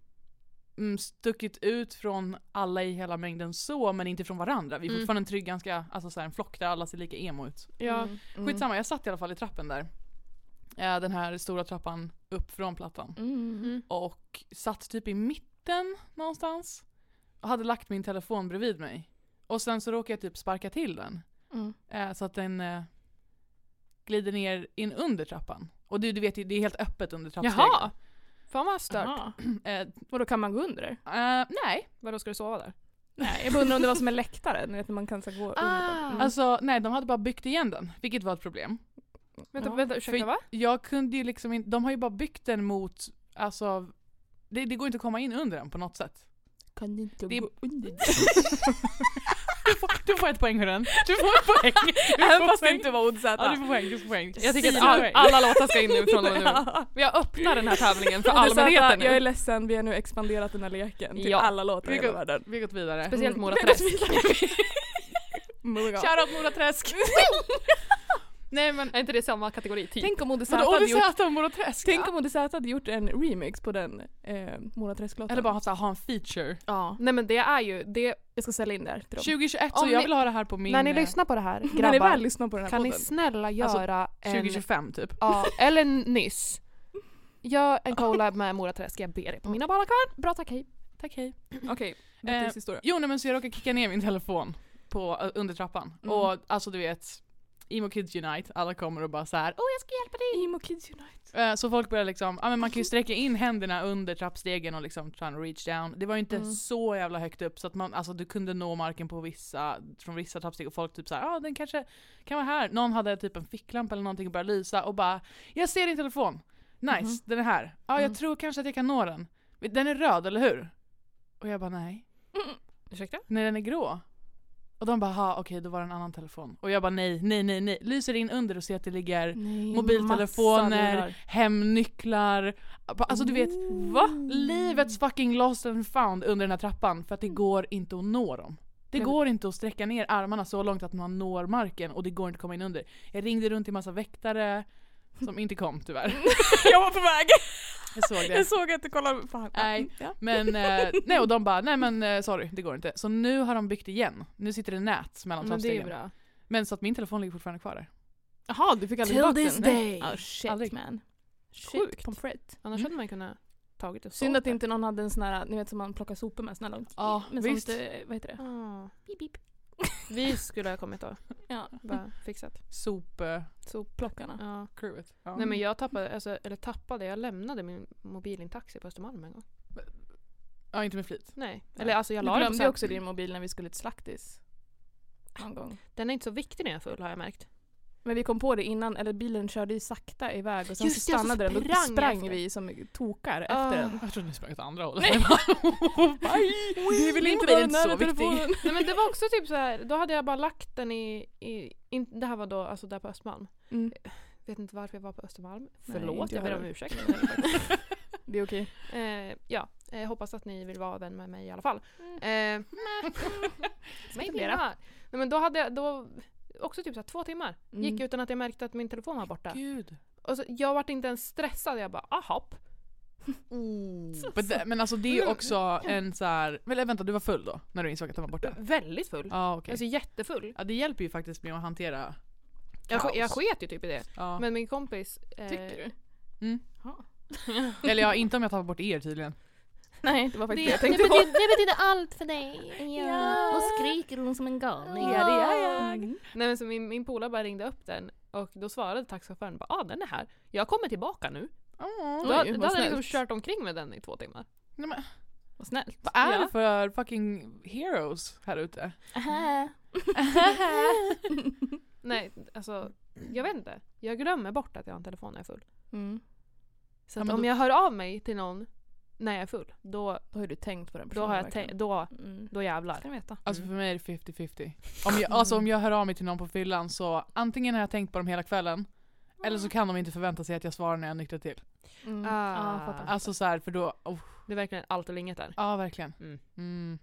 mm, stuckit ut från alla i hela mängden så men inte från varandra. Vi är
Mm.
fortfarande en trygg, ganska, alltså så här, en flock där alla ser lika emo ut.
Ja.
Mm.
Skitsamma, jag satt i alla fall i trappen där. Eh, Den här stora trappan upp från plattan
Mm.
och satt typ i mitten någonstans och hade lagt min telefon bredvid mig. Och sen så råkade jag typ sparka till den
Mm.
eh, så att den eh, glider ner in under trappan. Och du, du vet ju, det är helt öppet under trappstegen.
Jaha! Fan vad stört.
Stört.
Eh,
Vadå, kan man gå under där?
eh, nej,
Vadå ska du sova där?
Nej, jag bara undrar om det var som en läktare, ni vet när man kan så här gå under.
Ah.
Mm.
alltså nej de hade bara byggt igen den, vilket var ett problem.
Vänta,
Ja.
vänta ursäkta
För-
va?
Jag kunde ju liksom inte, de har ju bara byggt den mot, alltså det, det går inte att komma in under den på något sätt.
Kan inte
Det-
gå under.
Du får, du får ett poäng hörren. Du får ett poäng.
Även
Du
fast
får
det
poäng.
inte var oddsäta.
Ja, du får poäng, du får poäng.
Jag tycker att
Sina
all,
poäng.
alla låtar ska in nu från och med nu. Jag öppnar den här tävlingen för allmänheten
Jag är
nu.
ledsen, vi har nu expanderat den här leken till
Ja.
alla låtar i
Vi går-
hela världen.
Vi har gått vidare. Mm.
Speciellt Mora Träsk.
Mora.
Shoutout Mora Träsk!
Nej men
Är inte det samma kategori? Typ.
Tänk om Moder Z
vadå
hade gjort,
OVZ och Mora Träsk?
tänk om Moder Z hade gjort en remix på den eh, Mora Träsk-låten.
Eller bara ha så här, ha en feature.
Ja.
Nej men det är ju, det,
Jag ska sälja in det här till dem.
2021 så
Om
jag
ni-
vill ha det här på min...
när ni
eh,
lyssnar på det här
När ni
grabbar,
väl lyssnar på den här
kan ni
podden.
snälla
Alltså,
göra en
2025 typ.
Ja, eller nyss. Gör en collab med Mora Träsk, jag ber er på mina bara kvar. Bra tack, hej.
Tack hej.
Okej,
Eh,
Bettis historia.
Jo nej men så jag råkade kicka ner min telefon på, ö, under trappan.
Mm.
Och alltså du vet, Emo Kids Unite, alla kommer och bara så här.
Åh jag ska hjälpa dig! Emo Kids Unite.
Eh, Så folk börjar liksom, ja men man kan ju sträcka in händerna under trappstegen och liksom trying to reach down. Det var ju inte
Mm.
så jävla högt upp så att man, alltså du kunde nå marken på vissa, från vissa trappsteg och folk typ såhär, ja ah, den kanske kan vara här. Någon hade typ en ficklampa eller någonting och började lysa och bara, jag ser din telefon. Nice,
Mhm.
den är här. Ja ah, jag
Mm.
tror kanske att jag kan nå den. Den är röd, eller hur? Och jag bara nej.
Ursäkta?
Nej den är grå. Och de bara, ha okej då var det en annan telefon. Och jag bara nej, nej, nej, nej. Lyser in under och ser att det ligger
Nej, massa
Mobiltelefoner,
lurar.
hemnycklar. Alltså du vet, va? Livets fucking lost and found under den här trappan för att det går inte att nå dem. Det
Men-
går inte att sträcka ner armarna så långt att man når marken och det går inte att komma in under. Jag ringde runt till massa väktare som inte kom tyvärr.
Jag var på väg!
Jag såg det.
Jag såg att du kollade. Fan.
Nej.
Ja.
Men eh, nej och de bara nej men eh, sorry det går inte. Så nu har de byggt igen. Nu sitter det nät mellan
Men det är ju
trappstegen.
bra.
Men så att min telefon ligger fortfarande kvar där.
Jaha, du fick aldrig
Till
tillbaka
this
den? Nej.
day.
Oh, shit
Aldrig.
man.
Sjukt.
Shit pommes frites.
Annars hade man kunnat tagit och
Synd
sålt
att
det.
inte någon hade en sån här, ni vet som man plockar sopor med, sån här lång.
Ja,
men
visst.
sånt, eh, vad heter det?
Ah.
Pip, pip.
Vi skulle ha kommit då.
Ja,
Bara fixat.
Sopcrewet.
sopplockarna.
Ja.
Ja.
Nej men jag tappade, alltså, eller tappade, jag lämnade min mobil i en taxi på Östermalm en gång.
ja inte med flit.
Nej. Eller alltså jag
Du
la den på
glömde
så
ju
här-
också din mobil när vi skulle till Slaktis. Någon gång.
Den är inte så viktig när jag är full har jag märkt.
Men vi kom på det innan, eller bilen körde ju sakta iväg och sen
Just
så
det, och så
stannade den och
sprang
sprang,
efter.
vi som tokar
Ah.
efter den.
Jag trodde ni sprang åt andra hållet. Jag bara, "Bye." Det är väl
Min
inte
mobil
vara nära telefonen.
Nej men det var också typ så här. då hade jag bara lagt den i, i in, det här var då alltså där på Östermalm.
Mm.
Vet inte varför jag var på Östermalm.
Nej,
Förlåt,
inte
jag ber
jag
om
heller.
ursäkt.
Det är okej.
Eh, ja, eh, hoppas att ni vill vara vän med mig i alla fall. Eh, maybe
Spendera.
not. Nej, men då hade jag då, också typ så här, två timmar.
Mm.
Gick utan att jag märkte att min telefon var borta.
Gud.
Och så, jag vart inte ens stressad, jag bara "Ah, aha.
But the, men alltså det är ju också en så här... Eller vänta, du var full då? När du insåg att den var borta?
Väldigt full.
Ja okej.
Alltså jättefull.
Ja det hjälper ju faktiskt med att hantera
Jag, sk-
kaos.
jag sket ju typ i det.
Ja.
Men min kompis... eh,
Tycker du?
Eller ja, inte om jag tappar bort er tydligen.
Nej, det var
Det,
faktiskt det,
det
jag tänkte.
betyder-
allt för dig. Ja. Och skriker hon som en galning.
Ja, det är jag.
Nej men så min, min polare bara ringde upp den och då svarade taxichauffören bara ah, den är här. Jag kommer tillbaka nu.
Oh.
då
Oj,
hade-
vad
då hade jag liksom
snällt.
kört omkring med den i två timmar.
Nej, men,
Vad snällt.
vad är
ja.
det för fucking heroes här ute?
Aha.
Mm.
Nej alltså jag vet inte. Jag glömmer bort att jag har en telefon när jag är full.
Mm.
Så
Ja,
att
men
om
då-
jag hör av mig till någon när jag är full då,
Då har du tänkt på den
då,
personen.
har jag
verkligen.
tänkt- då,
Mm.
då jävlar.
Ska ni veta.
Alltså för mig är det 50-50. Om jag, alltså om jag hör av mig till någon på fyllan så antingen har jag tänkt på dem hela kvällen eller så kan de inte förvänta sig att jag svarar när jag nyktrar till.
Mm.
Ah.
Ja, fattar.
Alltså så här, för då, oh,
Det är verkligen allt eller inget där.
ja verkligen.
Mm.
Mm.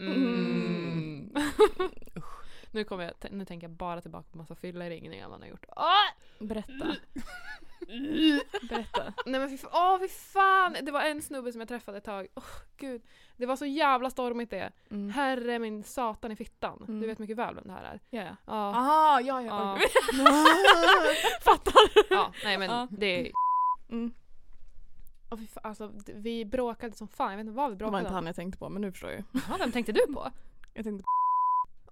Mm. nu, kommer jag, t- nu tänker jag bara tillbaka på massa fyllerinningar man har gjort. Ah!
Berätta. Berätta.
Nej men fy, fa- åh, fy fan! Det var en snubbe som jag träffade ett tag. Åh gud. Det var så jävla stormigt det.
Mm.
Herre min satan i fittan.
Mm.
Du vet mycket väl vem det här är.
Ja, ja.
Ja.
Ah, ja,
ja.
Ah.
Fattar du?
ja nej men
Ja.
det är...
Mm.
Åh, fy fan, alltså, d- vi bråkade som fan. Jag vet inte vad vi
Det var inte
bråkade om.
han jag tänkte på, men nu förstår jag ju.
Ja, vem tänkte du på?
Jag tänkte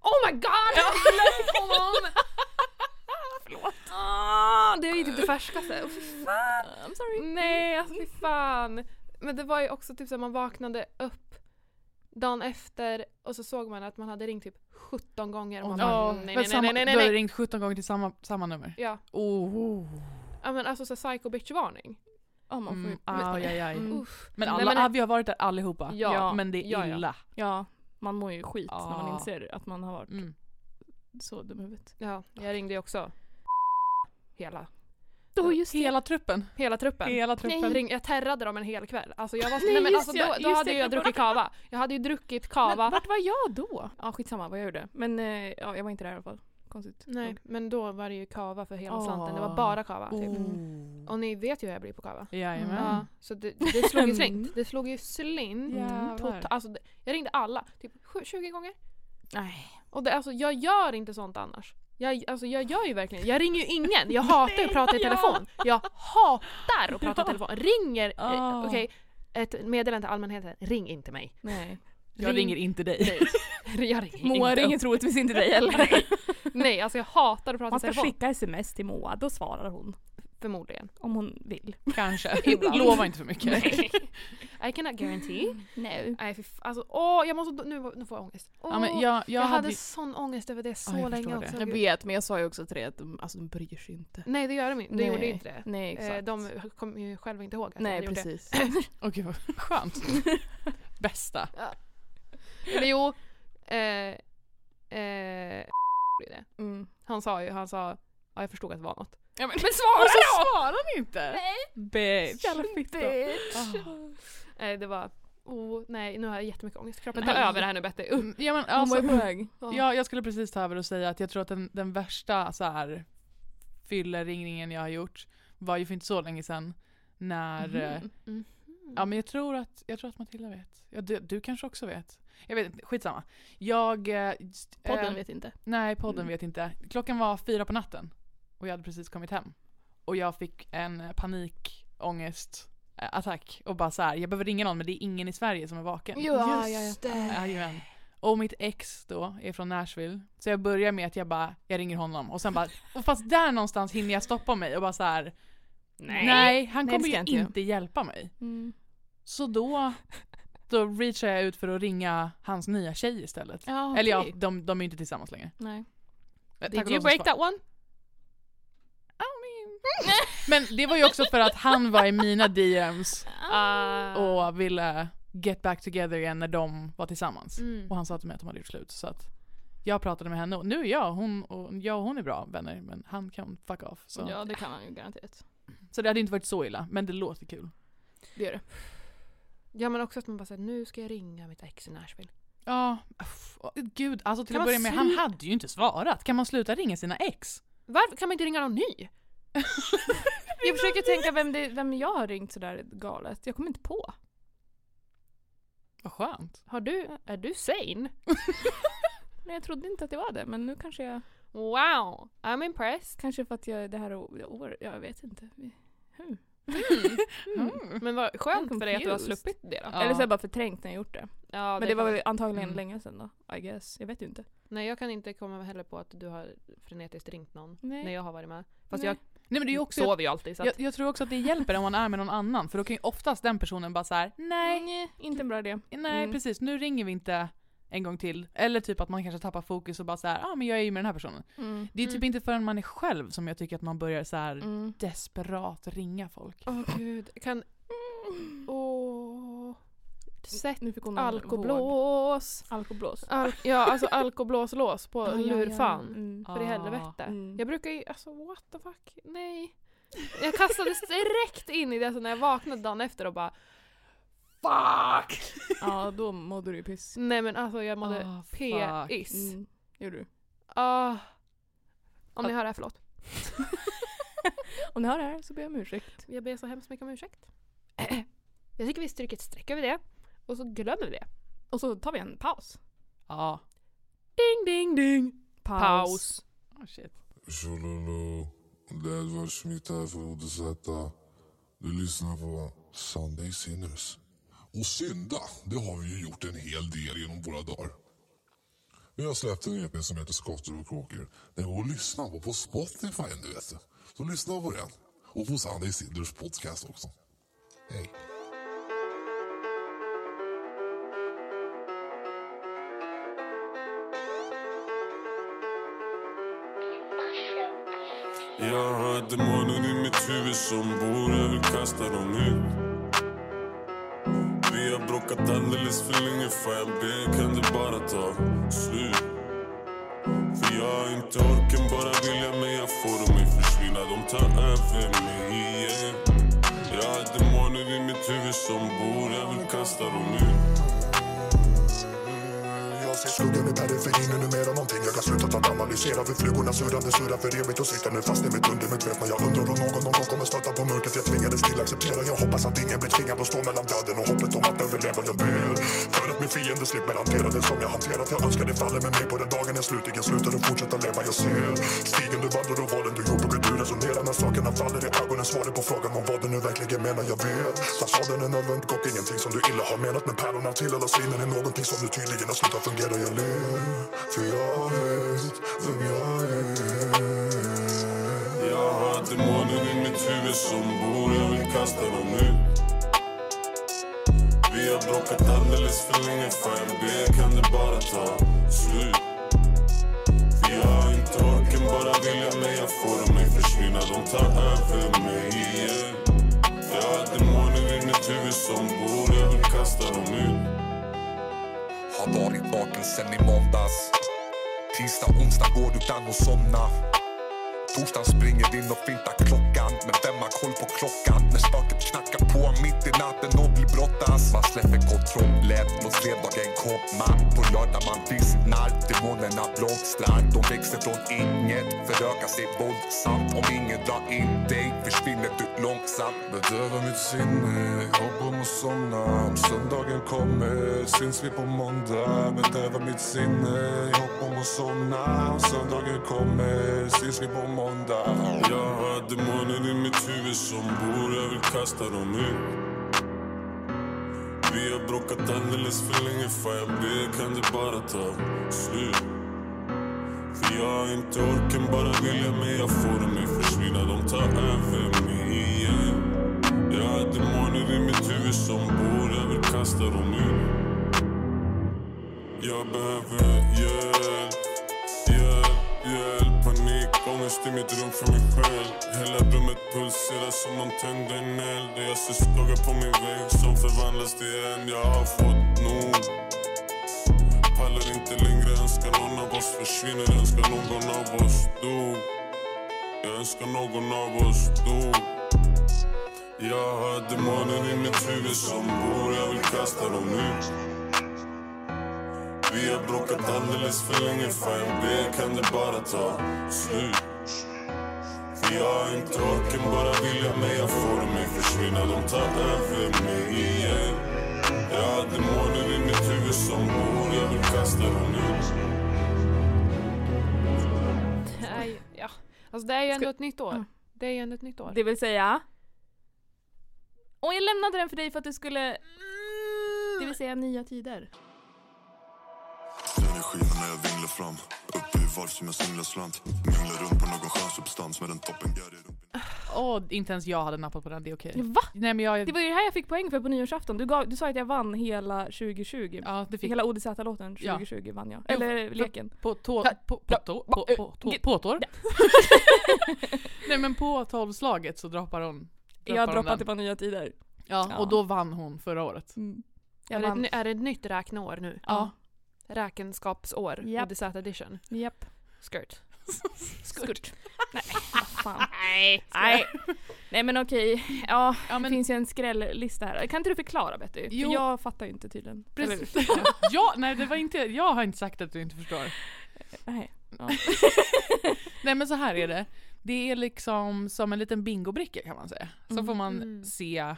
Oh my god! Jag har glömt honom!
Förlåt.
Ah, det är ju typ det färskaste. Åh, fy
I'm sorry.
Nej, alltså fy fan. Men det var ju också typ så att man vaknade upp dagen efter och så såg man att man hade ringt typ 17 gånger. Och man bara,
Ja,
nej,
men
nej,
samma-
nej, nej, nej,
Du har
nej.
ringt 17 gånger till samma, samma nummer.
Ja,
Oh.
ja, men alltså så här psycho bitch-varning.
Ja, man får ju...
Mm. Aj, aj, aj.
Mm.
Uff.
Men
Nej,
alla,
men-
vi har varit där allihopa.
Ja.
men det är
Ja, ja.
illa.
Ja, man mår ju skit när man
Ah.
inser att man har varit
Mm.
så dum i huvudet.
Ja, jag ringde ju också. Hela,
Då just det.
Hela truppen.
hela truppen.
Hela truppen.
Jag, ring, jag terrade dem en hel kväll. Alltså jag var,
Nej,
nej, men
just
alltså,
ja,
då,
just
då
det,
hade ju
jag
jag
glömde
druckit kava. Jag hade ju druckit kava.
Men vart var jag då? Ja, skitsamma vad jag gjorde. Men eh, ja, jag var inte där i alla fall. Konstigt.
Nej, men då var det ju kava för hela
Ah.
slanten. Det var bara kava. Typ.
Oh.
Och ni vet ju hur jag blir på kava.
Jajamän.
Ja, så det, det slog ju slint. Det slog ju slint.
Jävlar.
Tota- alltså, det, jag ringde alla, typ sju- 20 gånger.
Nej.
Och det, alltså, jag gör inte sånt annars. Jag, alltså, jag gör ju verkligen, jag ringer ju ingen. Jag hatar att prata i telefon. Jag hatar att prata i telefon. Ringer,
Ah.
eh, okej, ett meddelande till allmänheten. Ring inte mig.
Nej.
Jag ringer inte dig.
Jag ringer
Moa
inte.
ringer troligtvis inte dig heller.
Nej, alltså jag hatar att prata i
Man ska
telefon.
skicka sms till Moa, då svarar hon.
Förmodligen.
Om hon vill.
Kanske.
Ibland.
Lova inte för mycket.
I cannot guarantee.
Nej.
Nej, fy f- alltså, åh, jag måste, nu, nu får jag ångest. Åh,
Ja, men jag,
jag,
jag,
hade,
hade ju-
sån ångest över det så
jag förstår
länge
det.
också.
Jag vet, men jag sa ju också till dig att de, alltså, de bryr sig inte.
Nej, det gör de inte. Det gjorde
Nej.
ju inte det.
Nej,
Eh,
exakt.
De kom ju själva inte ihåg att jag hade
Nej,
gjort
precis.
Åh gud vad skönt. Bästa.
det. Eller jo, eh, eh, gjorde det.
Mm.
han sa ju, han sa, ja jag förstod att det var något.
Ja, men, men svara Och så svarar ni inte! Bitch.
Jävla fitta.
Nej, Eh, det var, oh nej nu har jag jättemycket ångest. Kroppen tar
Nej.
över det här nu Betty. Uh.
Ja, men,
Hon var
alltså,
ju på väg.
jag, jag skulle precis ta över och säga att jag tror att den, den värsta så här, fylleringningen jag har gjort var ju för inte så länge sedan när
Mm. Mm-hmm.
eh,
Mhm.
Ja men jag tror att, jag tror att Matilda vet. Ja, du, du kanske också vet. Jag vet inte, skitsamma. Jag... Eh, st-
Podden
eh,
vet inte.
Nej, podden
Mm.
vet inte. Klockan var fyra på natten och jag hade precis kommit hem. Och jag fick en eh, panikångestattack eh, attack. och bara så här, jag behöver ringa någon men det är ingen i Sverige som är vaken.
Ja, ja, ja.
Jajamän. Och mitt ex då är från Nashville. Så jag börjar med att jag bara, jag ringer honom och sen bara, och fast där någonstans hinner jag stoppa mig och bara så här. Nej, han
Nej, det
kommer
ska
ju
jag inte göra.
inte hjälpa mig.
Mm.
Så då, då reachar jag ut för att ringa hans nya tjej istället.
Ja,
Eller ja,
okej.
de, de är ju inte tillsammans längre. Eh,
Nej.
Tack och
Did
lov
you
så
break
svar-
that one?
Men det var ju också för att han var i mina DMs
Ah.
och ville get back together igen när de var tillsammans.
Mm.
Och han sa till mig att de hade gjort slut. Så att jag pratade med henne och nu är jag, hon och, jag och hon är bra vänner men han kan fuck off. Så.
Ja, det kan han ju garanterat.
så det hade inte varit så illa, men det låter kul. Det gör det.
Ja men också att man bara säger nu ska jag ringa mitt ex i Nashville.
Ja, uff, åh, gud alltså till
Kan
att
man
börja med, han
slu-
hade ju inte svarat. Kan man sluta ringa sina ex?
Varför kan man inte ringa någon ny?
Jag försöker tänka vem, det, vem jag har ringt sådär galet. Jag kommer inte på.
Vad skönt.
Har du, är du sane?
Men jag trodde inte att det var det. Men nu kanske jag...
Wow, I'm impressed.
Kanske för att jag det här å- året... Jag vet inte. Mm.
Mm.
Men vad skönt
I'm
för dig att du har
confused.
sluppit det då.
Ja.
Eller så har jag bara förträngt när jag gjort det.
Ja,
men det var väl antagligen
Mm.
länge sedan då. I guess. Jag vet ju inte.
Nej jag kan inte komma heller på att du har frenetiskt ringt någon
Nej.
när jag har varit med. Fast
Nej.
Nej men det är ju
jag
också,
sover ju alltid så att,
jag, jag tror också att det hjälper om man är med någon annan för då kan ju oftast den personen bara så här: nej,
Nej, inte en bra idé.
nej
Mm.
precis nu ringer vi inte en gång till. Eller typ att man kanske tappar fokus och bara så här, ja ah, men jag är ju med den här personen.
Mm.
Det är typ
Mm.
inte förrän man är själv som jag tycker att man börjar så här
Mm.
desperat ringa folk.
åh gud, kan...
Mm.
Åh... Sätt
Nu fick hon en vård.
alkoblås.
Alkoblås.
Al- ja alltså alkoblåslås på
Ja, ja, ja.
lurfan.
Mm.
För i helvete.
Mm.
Jag brukar ju, alltså what the fuck, nej. Jag kastades direkt in i det så när jag vaknade dagen efter och bara Fuck!
Ja, då mådde du ju piss.
Nej men alltså jag mådde
Ah, fuck.
p-is.
Mm. Gjorde du.
Ah. om ni hör det här, förlåt.
Om ni hör det här så ber jag om ursäkt.
Jag ber så hemskt mycket om ursäkt. jag tycker vi stryker ett streck över det. Och så glömmer vi det.
Och så tar vi en paus. Ah,
Ja.
Ding ding ding! Paus.
oh,
Ah, shit.
Shololo, det är Edvard Smith här från Odesetta. Du lyssnar på Sunday Sinners. Och synda, det har vi ju gjort en hel del genom våra dagar. Vi har släppt en EP som heter Skottor och kråkor. Den går att lyssna på på Spotify, du vet. Så lyssna på den. Och på Sunday Sinners podcast också. Hej.
Jag har demoner i mitt huvud som bor, jag vill kasta dem ut Vi har bråkat alldeles för länge, fan jag ber kan det bara ta slut För jag har inte orken, bara viljan, men jag får dem att försvinna, de tar över mig igen Jag har demoner i mitt huvud som bor, jag vill kasta dem ut
Jag ser skuggan i periferin och numera någonting jag kan sluta att analysera För flugorna surrande surrar för evigt och sitter nu fast i mitt undermedvetna Jag undrar om någon någon gång kommer stöta på mörkret jag tvingades till acceptera Jag hoppas att ingen blir tvingad att stå mellan döden och hoppet om att överleva Jag ber för att min fiende slipper hantera det som jag hanterat Jag önskar det faller med mig på den dagen jag slutligen slutar och fortsätter leva Jag ser stigen du vandrar och valen du gjorde hur du resonerar när sakerna faller i ögonen Svaret på frågan om vad du nu verkligen menar Jag vet fasaden är nödvändig och ingenting som du illa har menat Men pärlorna till alla sinnen är någonting som nu tydligen har slutat fungera Jag ler, för jag vet vem jag är
Jag har demoner i mitt huvud som bor, jag vill kasta dem ut Vi har bråkat alldeles för länge, fan jag ber kan det bara ta slut För jag har inte orken, bara viljan, men jag får dem att försvinna, de tar över mig igen Jag har demoner i mitt huvud som bor, jag vill kasta dem ut
Har varit vaken sen i måndags Tisdag, onsdag går du utan att somna Torsdagen springer in och fintar klockan Men vem har koll på klockan? När spöket knackar på mitt i natten och vill brottas Man släpper kontrollen mot fredagen kom man På lördag man vissnar, demonerna blomstrar De växer från inget, förökar sig våldsamt Om ingen drar in dig försvinner du långsamt
Bedöva mitt sinne, hopp om att somna Om söndagen kommer syns vi på måndag Bedöva mitt sinne, hopp om att somna Om söndagen kommer syns vi på måndag Jag har demoner i mitt huvud som bor, jag vill kasta dem ut Vi har bråkat alldeles för länge, fan jag ber kan det bara ta slut för jag har inte orken, bara viljan Men jag får dem att försvinna, de tar över mig igen Jag har demoner i mitt huvud som bor, jag vill kasta dem ut Jag behöver hjälp, hjälp, hjälp Panik, ångest i mitt rum för mig själv Hela rummet pulserar som någon tände en eld Och jag ser skugga på min vägg som förvandlas till en Jag har fått nog Pallar inte längre, önskar någon av oss försvinner Önskar någon av oss dog Jag önskar någon av oss dog Jag har demoner i mitt huvud som bor, jag vill kasta dem ut Vi har bråkat alldeles för länge, fan jag ber kan det bara ta slut För jag har inte orken, bara viljan, men jag får dem att försvinna, de tar över mig igen Jag har demoner i mitt huvud som bor, jag vill kasta dem ut
Nej, ja. Alltså det är ju ändå ett nytt år. Det är ju ändå ett nytt år.
Det vill säga... Och jag lämnade den för dig för att du skulle... Det vill säga nya tider.
Energin när jag vinglar fram Uppe i varv som en singlaslant Minglar runt på någon skön substans med en toppen
Åh, inte ens jag hade nappat på den, det är okej.
Va?
Nej men jag...
Det var ju det här jag fick poäng för på nyårsafton. Du, gav, du sa att jag vann hela 2020.
Ja, det fick
Hela ODZ-låten 2020 vann jag. Eller
för-
leken.
På tå... På, på, tå, på,
eh,
på, på, påtår? Nej men på tolvslaget så droppar hon.
Jag
hon
droppade
den.
på nya tider.
Ja, och då vann hon förra året.
Jag
är, det ett,
vann.
ny- är det ett nytt räkneår nu?
Ja.
Räkenskapsår,
Japp.
ODZ edition.
Japp.
Skirt.
Skurt. Nej, vad fan. Nej. Nej men okej. Ja,
Ja,
det
men,
finns ju en skräll-lista här. Kan inte du förklara Betty? För
Jo.
jag fattar ju inte tydligen.
Precis.
Eller-
ja, nej det var inte, jag har inte sagt att du inte förstår.
Nej.
Nej men så här är det. Det är liksom som en liten bingobricka kan man säga. Så får man
Mm.
se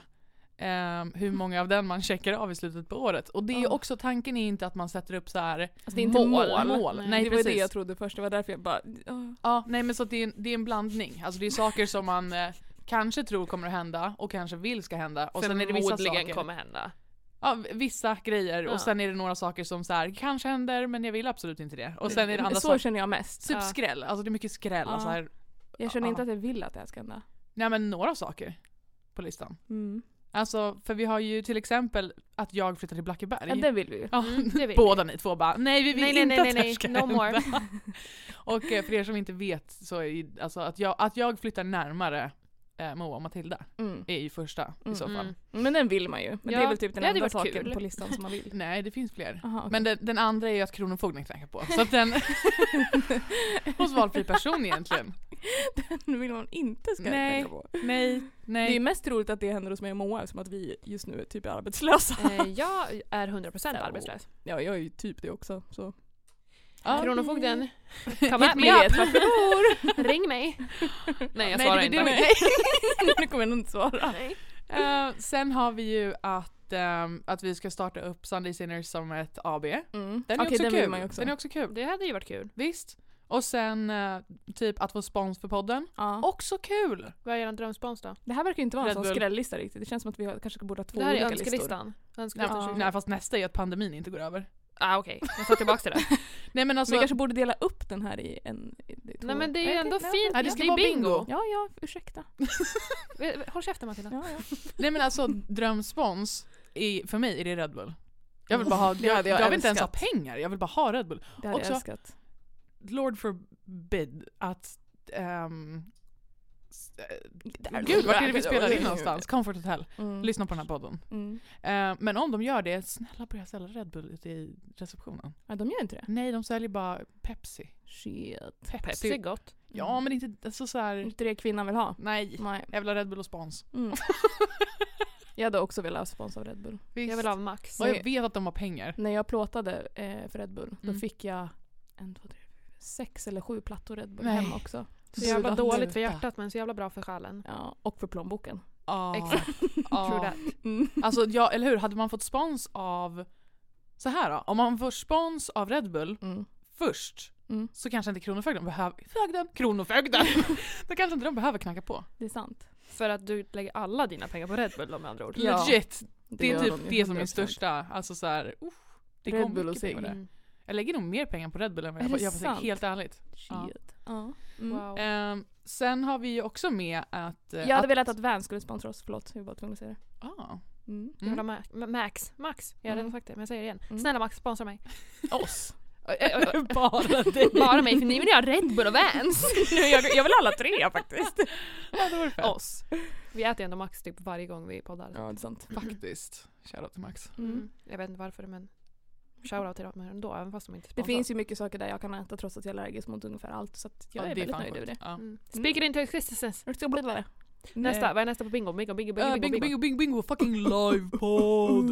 ehm, hur många av den man checkar av i slutet på året. Och det är ju
Ah.
också, tanken är inte att man sätter upp så här
Alltså det är inte mål.
mål.
Nej.
Nej,
Nej, det var
precis.
det jag trodde först. Det var därför jag bara... åh.
Ja, nej men så att det är en, det är en blandning. Alltså det är saker som man eh, kanske tror kommer att hända och kanske vill ska hända. Och sen är det vissa saker.
kommer hända.
Ja, v- vissa grejer
Ja.
och sen är det några saker som så här kanske händer men jag vill absolut inte det. Och sen är det andra
så
saker.
känner jag mest.
Typ skräll, alltså det är mycket skräll.
Ja.
Alltså här,
Jag känner
Ja.
inte att jag vill att det här ska hända.
nej men några saker på listan.
Mm.
Alltså för vi har ju till exempel att jag flyttar till Blackeberg.
Ja, det vill vi ju.
Ja,
Mm, det vill
Båda ni två bara nej vi vill
Nej, nej,
inte
nej, nej,
att det här
nej.
ska
No more.
hända. Och eh, för er som inte vet så är ju, alltså att jag, att jag flyttar närmare eh, Moa och Matilda
Mm.
är ju första i så fall.
Mm.
Men den vill man ju. Men det
Ja,
är väl typ den
det hade
enda
varit
saken
kul.
på listan som man vill.
Nej det finns fler.
Aha, okej.
Men den, den andra är ju att Kronofogden knackar på. Så att den... hos valfri person egentligen.
den vill man inte ska
Nej.
tänka på.
Nej,
Det är ju
nej.
mest roligt att det händer hos mig och Moa eftersom att vi just nu typ är arbetslösa.
Eh, jag är 100% arbetslös.
Ja, jag är ju typ det också. Så.
Ja.
Kronofogden, come at me
Hit me
up.
up.
Ring mig. Nej jag
Nej,
svarar
det- det-
inte.
nej.
nu kommer jag nog inte svara.
Eh, sen har vi ju att, ehm, att vi ska starta upp Sunday Sinners som ett AB.
Mm.
Den är,
Okej,
också,
den
kul.
vill man ju också.
den är också kul.
Det hade ju varit kul.
Visst. Och sen eh, typ att få spons för podden.
Ja.
Också kul!
Vad är eran drömspons då?
Det här verkar ju inte vara en
Red
sån
Bull.
skrällista riktigt. Det känns som att vi har, kanske borde ha två
det här är
olika listor.
önskelistan.
Nej,
Önskelistan
Ja.
2020.
nej fast nästa är att pandemin inte går över.
Ah, okej, jag tar tillbaka till det.
Nej men alltså,
vi kanske borde dela upp den här i en... i- i två-
Nej men det är ju
Okej,
ändå
nej,
fint.
Ja, det ska vara bingo.
Ja, ja, ursäkta.
Eh, Håll käften Matilda.
Ja, ja.
nej, men alltså drömspons i, för mig är det Red Bull. Jag vill bara ha,
Det
jag,
hade jag
jag vill inte ens ha
älskat.
pengar, jag vill bara ha Red Bull.
Det hade jag
Också-
älskat.
Lord forbid att... ehm, s- eh,
Där-
Gud, vart är det
där-
vi spelar in någonstans? Comfort Hotel.
Mm.
Lyssna på den här podden.
Mm.
Eh, men om de gör det, snälla börja sälja Red Bull ute i receptionen.
Ja, de gör inte det.
Nej, de säljer bara Pepsi.
Shit. Mm.
Pepsi.
Pepsi Mm. är gott.
Ja, men inte alltså, så här.
Inte det kvinnan vill ha.
Nej.
Nej.
Jag vill ha Red Bull och spons.
Mm. Jag hade också velat ha spons av Red Bull.
Visst.
Jag vill ha Max.
Och jag vet att de har pengar.
När jag plåtade eh, för Red Bull, då
Mm.
fick jag en, två, tre, sex eller sju plattor Red Bull
Nej.
hem också.
Så jävla
Sluta.
dåligt för hjärtat men så jävla bra för själen.
Ja, och för plånboken.
Ja.
Exakt. True
Ja.
that.
Alltså, ja, eller hur? Hade man fått spons av... Så här då. Om man får spons av Red Bull
Mm.
först
Mm.
så kanske inte Kronofogden behöver... Fögden! Kronofogden! Då kanske inte de behöver knacka på.
Det är sant.
För att du lägger alla dina pengar på Red Bull då, med andra ord.
Ja.
Legit! Det, är
gör
typ
de ju
det som är
100%.
största. Alltså så här, uff, det
Red
kom
Bull och
mycket pengar
cigg.
på det.
Mm.
Jag lägger nog mer pengar på Red Bull än vad
Är
jag,
det
jag får säga,
sant?
helt ärligt. Ja.
Shit. Ja. Mm.
Wow.
Ehm, sen har vi ju också med att... eh,
Jag hade
att
velat att Vans skulle sponsra oss, förlåt. Jag var tvungen att säga det.
ah,
Mm.
Jag vill ha Ma- Ma- Max. Max. Jag har redan
Mm.
sagt det men jag säger det igen.
Mm.
Snälla Max, sponsra mig.
oss.
Oj,
Eh,
oj, oj.
Bara dig.
Bara mig för ni vill ju ha Red Bull och Vans.
jag, jag vill alla tre faktiskt.
Ja, det var fett.
Oss. Vi äter ju ändå Max typ varje gång vi poddar.
Ja, det är sant.
Faktiskt. Shoutout till Max.
Mm. Jag vet inte varför men shoutout till dem ändå även fast de inte
Det
sponsrar.
finns ju mycket saker där jag kan äta trots att jag är allergisk mot ungefär allt så att jag
Ja,
är
det
väldigt
fan
Mm.
nöjd över det.
sjukt. Ja.
Speaker into existence.
Jag ska bli det.
Nästa, vad är nästa på bingo? Bingo, bingo, bingo,
Äh,
bingo, Eh. bingo.
bingo, bingo, bingo, fucking livepodd!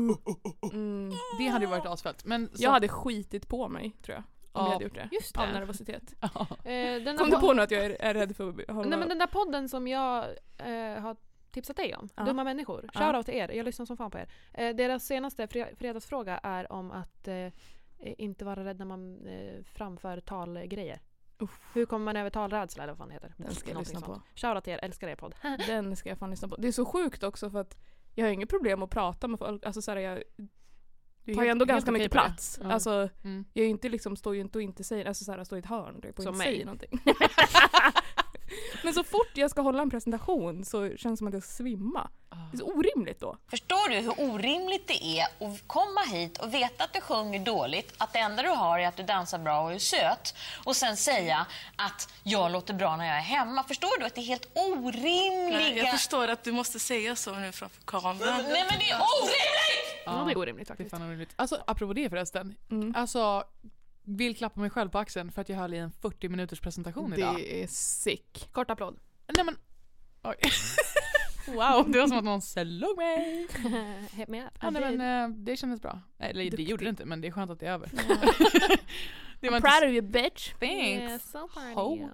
Mm.
det hade ju varit asfett. Men så,
Jag hade skitit på mig tror jag. Om
Ja,
jag hade gjort det.
Just
Av
det.
nervositet.
Ja.
Eh, den där
Kom du
pod-
på nu att jag är, är rädd för att hålla
Nej men den där podden som jag eh, har tipsat dig om,
Ja.
Dumma människor.
Ja.
Shoutout till er, jag lyssnar som fan på er. Eh, deras senaste fre- fredagsfråga är om att eh, inte vara rädd när man eh, framför talgrejer. Hur kommer man över talrädsla eller vad fan det heter?
Den ska jag
Någonting
lyssna på.
sånt. Shoutout till er, älskar er podd.
Den ska jag fan lyssna på. Det är så sjukt också för att jag har inget problem att prata med folk. Alltså så här, jag
Du är
tar ju
helt-
ändå
helt
ganska
okej
mycket
på det.
plats.
Ja.
Alltså,
Mm.
jag är ju inte liksom, står ju inte och inte säger, alltså så här, står i ett hörn typ, och
Som
inte
mig.
säger någonting. Men så fort jag ska hålla en presentation så känns det som att jag ska svimma. Det är
Ah.
så orimligt då.
Förstår du hur orimligt det är att komma hit och veta att du sjunger dåligt, att det enda du har är att du dansar bra och är söt och sen säga att jag låter bra när jag är hemma. Förstår du att det är helt orimliga...
Jag förstår att du måste säga så nu framför kameran.
Nej men det är orimligt!
Ja, det är orimligt
Det är
faktiskt.
fan orimligt. Alltså apropå det förresten.
Mm.
Alltså, vill klappa mig själv på axeln för att jag höll i en 40 minuters presentation idag.
Det är sick.
Kort applåd.
Nej men... Oj. wow, det var som att någon slog mig.
Hit me up.
Ja, nej,
Abid.
men, eh, det kändes bra. Eller det gjorde det inte, men det är skönt att det är över. det var
I'm
inte
proud of you bitch.
Yeah,
Thanks.
so proud of
Ho.
you.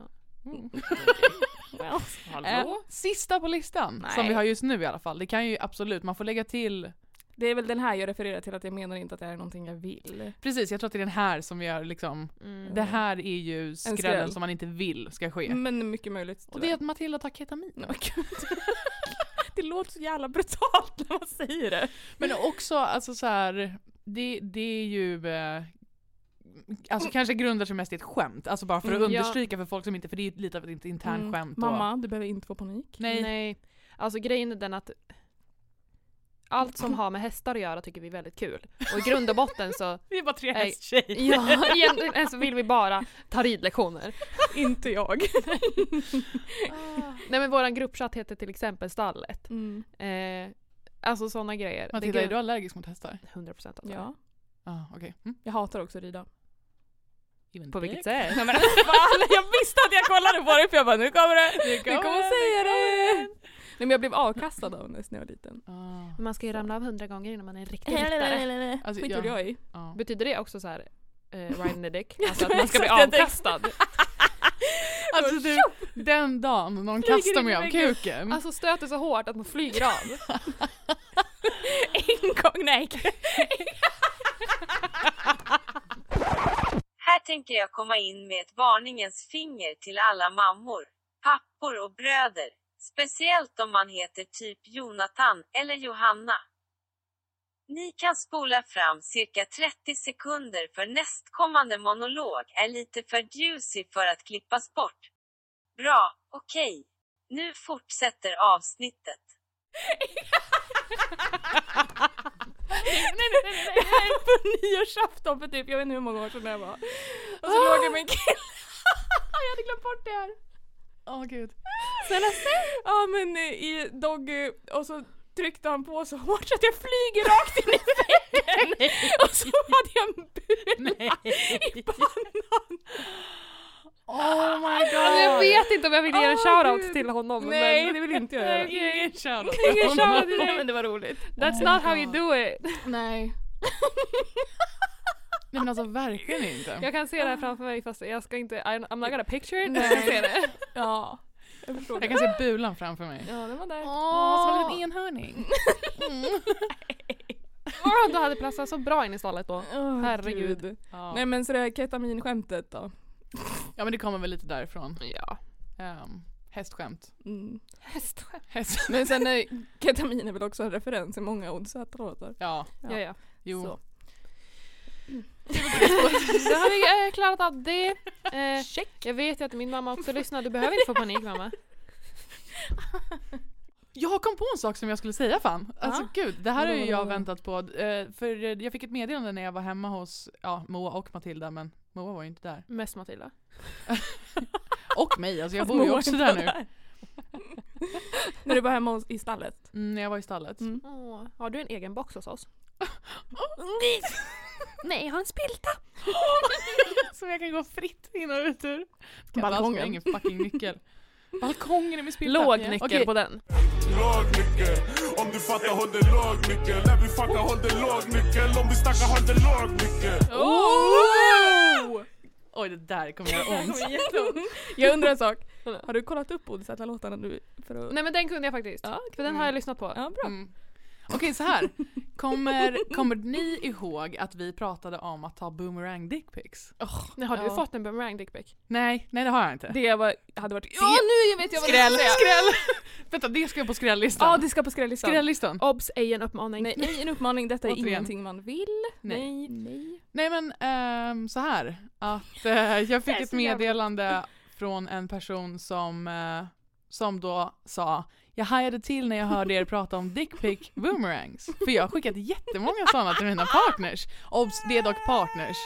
Well.
Eh, sista på listan, som
Nej.
vi har just nu i alla fall. Det kan ju absolut, man får lägga till...
Det är väl den här jag refererar till att jag menar inte att det här är någonting jag vill.
Precis, jag tror att det är den här som vi har liksom... Det här är ju skrällen
Mm. skräll. Mm.
som man inte vill ska ske.
Men mycket möjligt.
Och det är att Matilda tar ketamin.
Nej, men gud. det låter så jävla brutalt när man säger det.
Men också alltså så här, det, det är ju eh, Alltså kanske grundar sig mest i ett skämt, alltså bara för att
Mm, ja.
understryka för folk som inte, för det är ju lite av ett internt
Mm.
skämt. och-
Mamma, du behöver inte få panik.
Nej.
Nej. Alltså grejen är den att allt
Mm.
som har med hästar att göra tycker vi är väldigt kul. Och i grund och botten så
Vi är bara tre
Nej.
hästtjejer.
Ja, egentligen så vill vi bara ta ridlektioner.
inte jag.
Nej men våran gruppchatt heter till exempel Stallet.
Mm.
Eh, alltså sådana grejer.
Matilda, är
Det
du
är
allergisk mot hästar?
100% alltså.
Ja,
Ja, okej. Mm.
jag hatar också att rida.
Even
På
dick.
vilket sätt?
Nej, men fan, jag visste att jag kollade på det för jag bara nu kommer det.
Det
Du kommer
kommer.
säga det. Nej men jag blev avkastad av Ness när jag var liten.
Ah,
Man ska ju ramla av hundra gånger innan man är en riktig ryttare.
Alltså,
Skit
ja.
gjorde jag i.
ah.
Betyder det också så här eh, riding the dick? Alltså att man ska bli
Exakt, jag tänkte-
avkastad?
Alltså du, den dagen någon
Flyger
kastar
in
mig
i
av
väggen.
kuken.
Alltså stöter så hårt att man flyger av.
En gång, nej.
Här tänker jag komma in med ett varningens finger till alla mammor, pappor och bröder. Speciellt om man heter typ Jonathan eller Johanna. Ni kan spola fram cirka 30 sekunder för nästkommande monolog är lite för juicy för att klippas bort. Bra, okej. Nu fortsätter avsnittet.
Det här var på nyårsafton för typ, jag vet inte hur många år sedan det här var. Och så låg jag med en kille. Ah! jag hade glömt bort det här.
Åh gud.
Ja men eh, i Doggy och så tryckte han på så hårt så att jag flyger rakt in i väggen! och så hade jag en bula i pannan!
Oh my god.
Alltså jag vet inte om jag vill ge en
Åh,
shoutout
Gud.
till honom.
Nej
men
det vill inte jag göra.
Ingen shoutout.
Ingen shoutout till
Nej
dig.
men det var roligt.
That's
Oh my
not how you
God.
do it.
Nej.
Nej men alltså verkligen inte.
Jag kan se det här framför mig fast jag ska inte, I'm I'm not gonna picture it.
Nej.
Jag ska se det.
Ja. Jag förstår
Jag
det.
kan se bulan framför mig.
Ja den var där.
Åh, som en liten enhörning.
Åh, du hade platsat så bra in i stallet då.
Åh,
Herregud.
gud.
Ja.
Nej men så det här ketaminskämtet då.
ja men det kommer väl lite därifrån.
Ja.
Um, hästskämt.
Mm.
Hästskämt.
Häst.
Men sen eh, ketamin är väl också en referens i många Oddsätra låtar.
Ja,
Ja, ja.
jo.
Så.
Då har vi eh, klarat av det. Eh, jag vet ju att min mamma också lyssnar. Du behöver inte få panik mamma.
Jag kom på en sak som jag skulle säga fan. Alltså
Ja.
gud, det här har ju
Vadå,
jag
vadå,
väntat på. Eh, För eh, jag fick ett meddelande när jag var hemma hos ja, Moa och Matilda men Moa var ju inte där.
Mest Matilda.
Och mig, alltså jag
Fast
bor ju
Moa
också
inte
där
var
nu.
När du var hemma hos- i stallet.
Mm, när jag var i stallet.
Mm.
Åh, har du en egen box hos oss?
Nej, jag har en spilta.
Som jag kan gå fritt in och ut ur.
Balkongen.
Ingen fucking nyckel. Balkongen är med spillpapper.
Låg nyckel på den.
Låg nyckel, om du fattar håll det låg nyckel. När vi fuckar håll det låg nyckel. Om vi snackar håll det låg nyckel.
Oh! Oj, det där kommer göra ont.
Jag undrar en sak. Har du kollat upp Bodis alla låtarna nu? För att...
Nej men den kunde jag faktiskt. För den har jag lyssnat på. Mm.
Ja, bra.
Okej, så här. Kommer, kommer ni ihåg att vi pratade om att ta boomerang dickpics?
Nej, har du
Ja.
fått en boomerang dickpic?
Nej, nej det har jag inte.
Det var, hade varit...
Ja, nu vet jag vad du
skräll,
ska säga.
skräll! Vänta, det ska på skrällistan.
Ja, det ska på skrällistan.
Skrällistan.
Obs, ej en uppmaning.
Nej, ej, en uppmaning. Detta är
Återigen.
ingenting man vill.
Nej.
Nej. Nej.
Nej men ehm, så här att eh, jag fick
är
ett
så jävla-
meddelande från en person som, eh, som då sa jag hajade till när jag hörde er prata om dickpic boomerangs. För jag har skickat jättemånga sådana till mina partners. Obs, det är dock partners.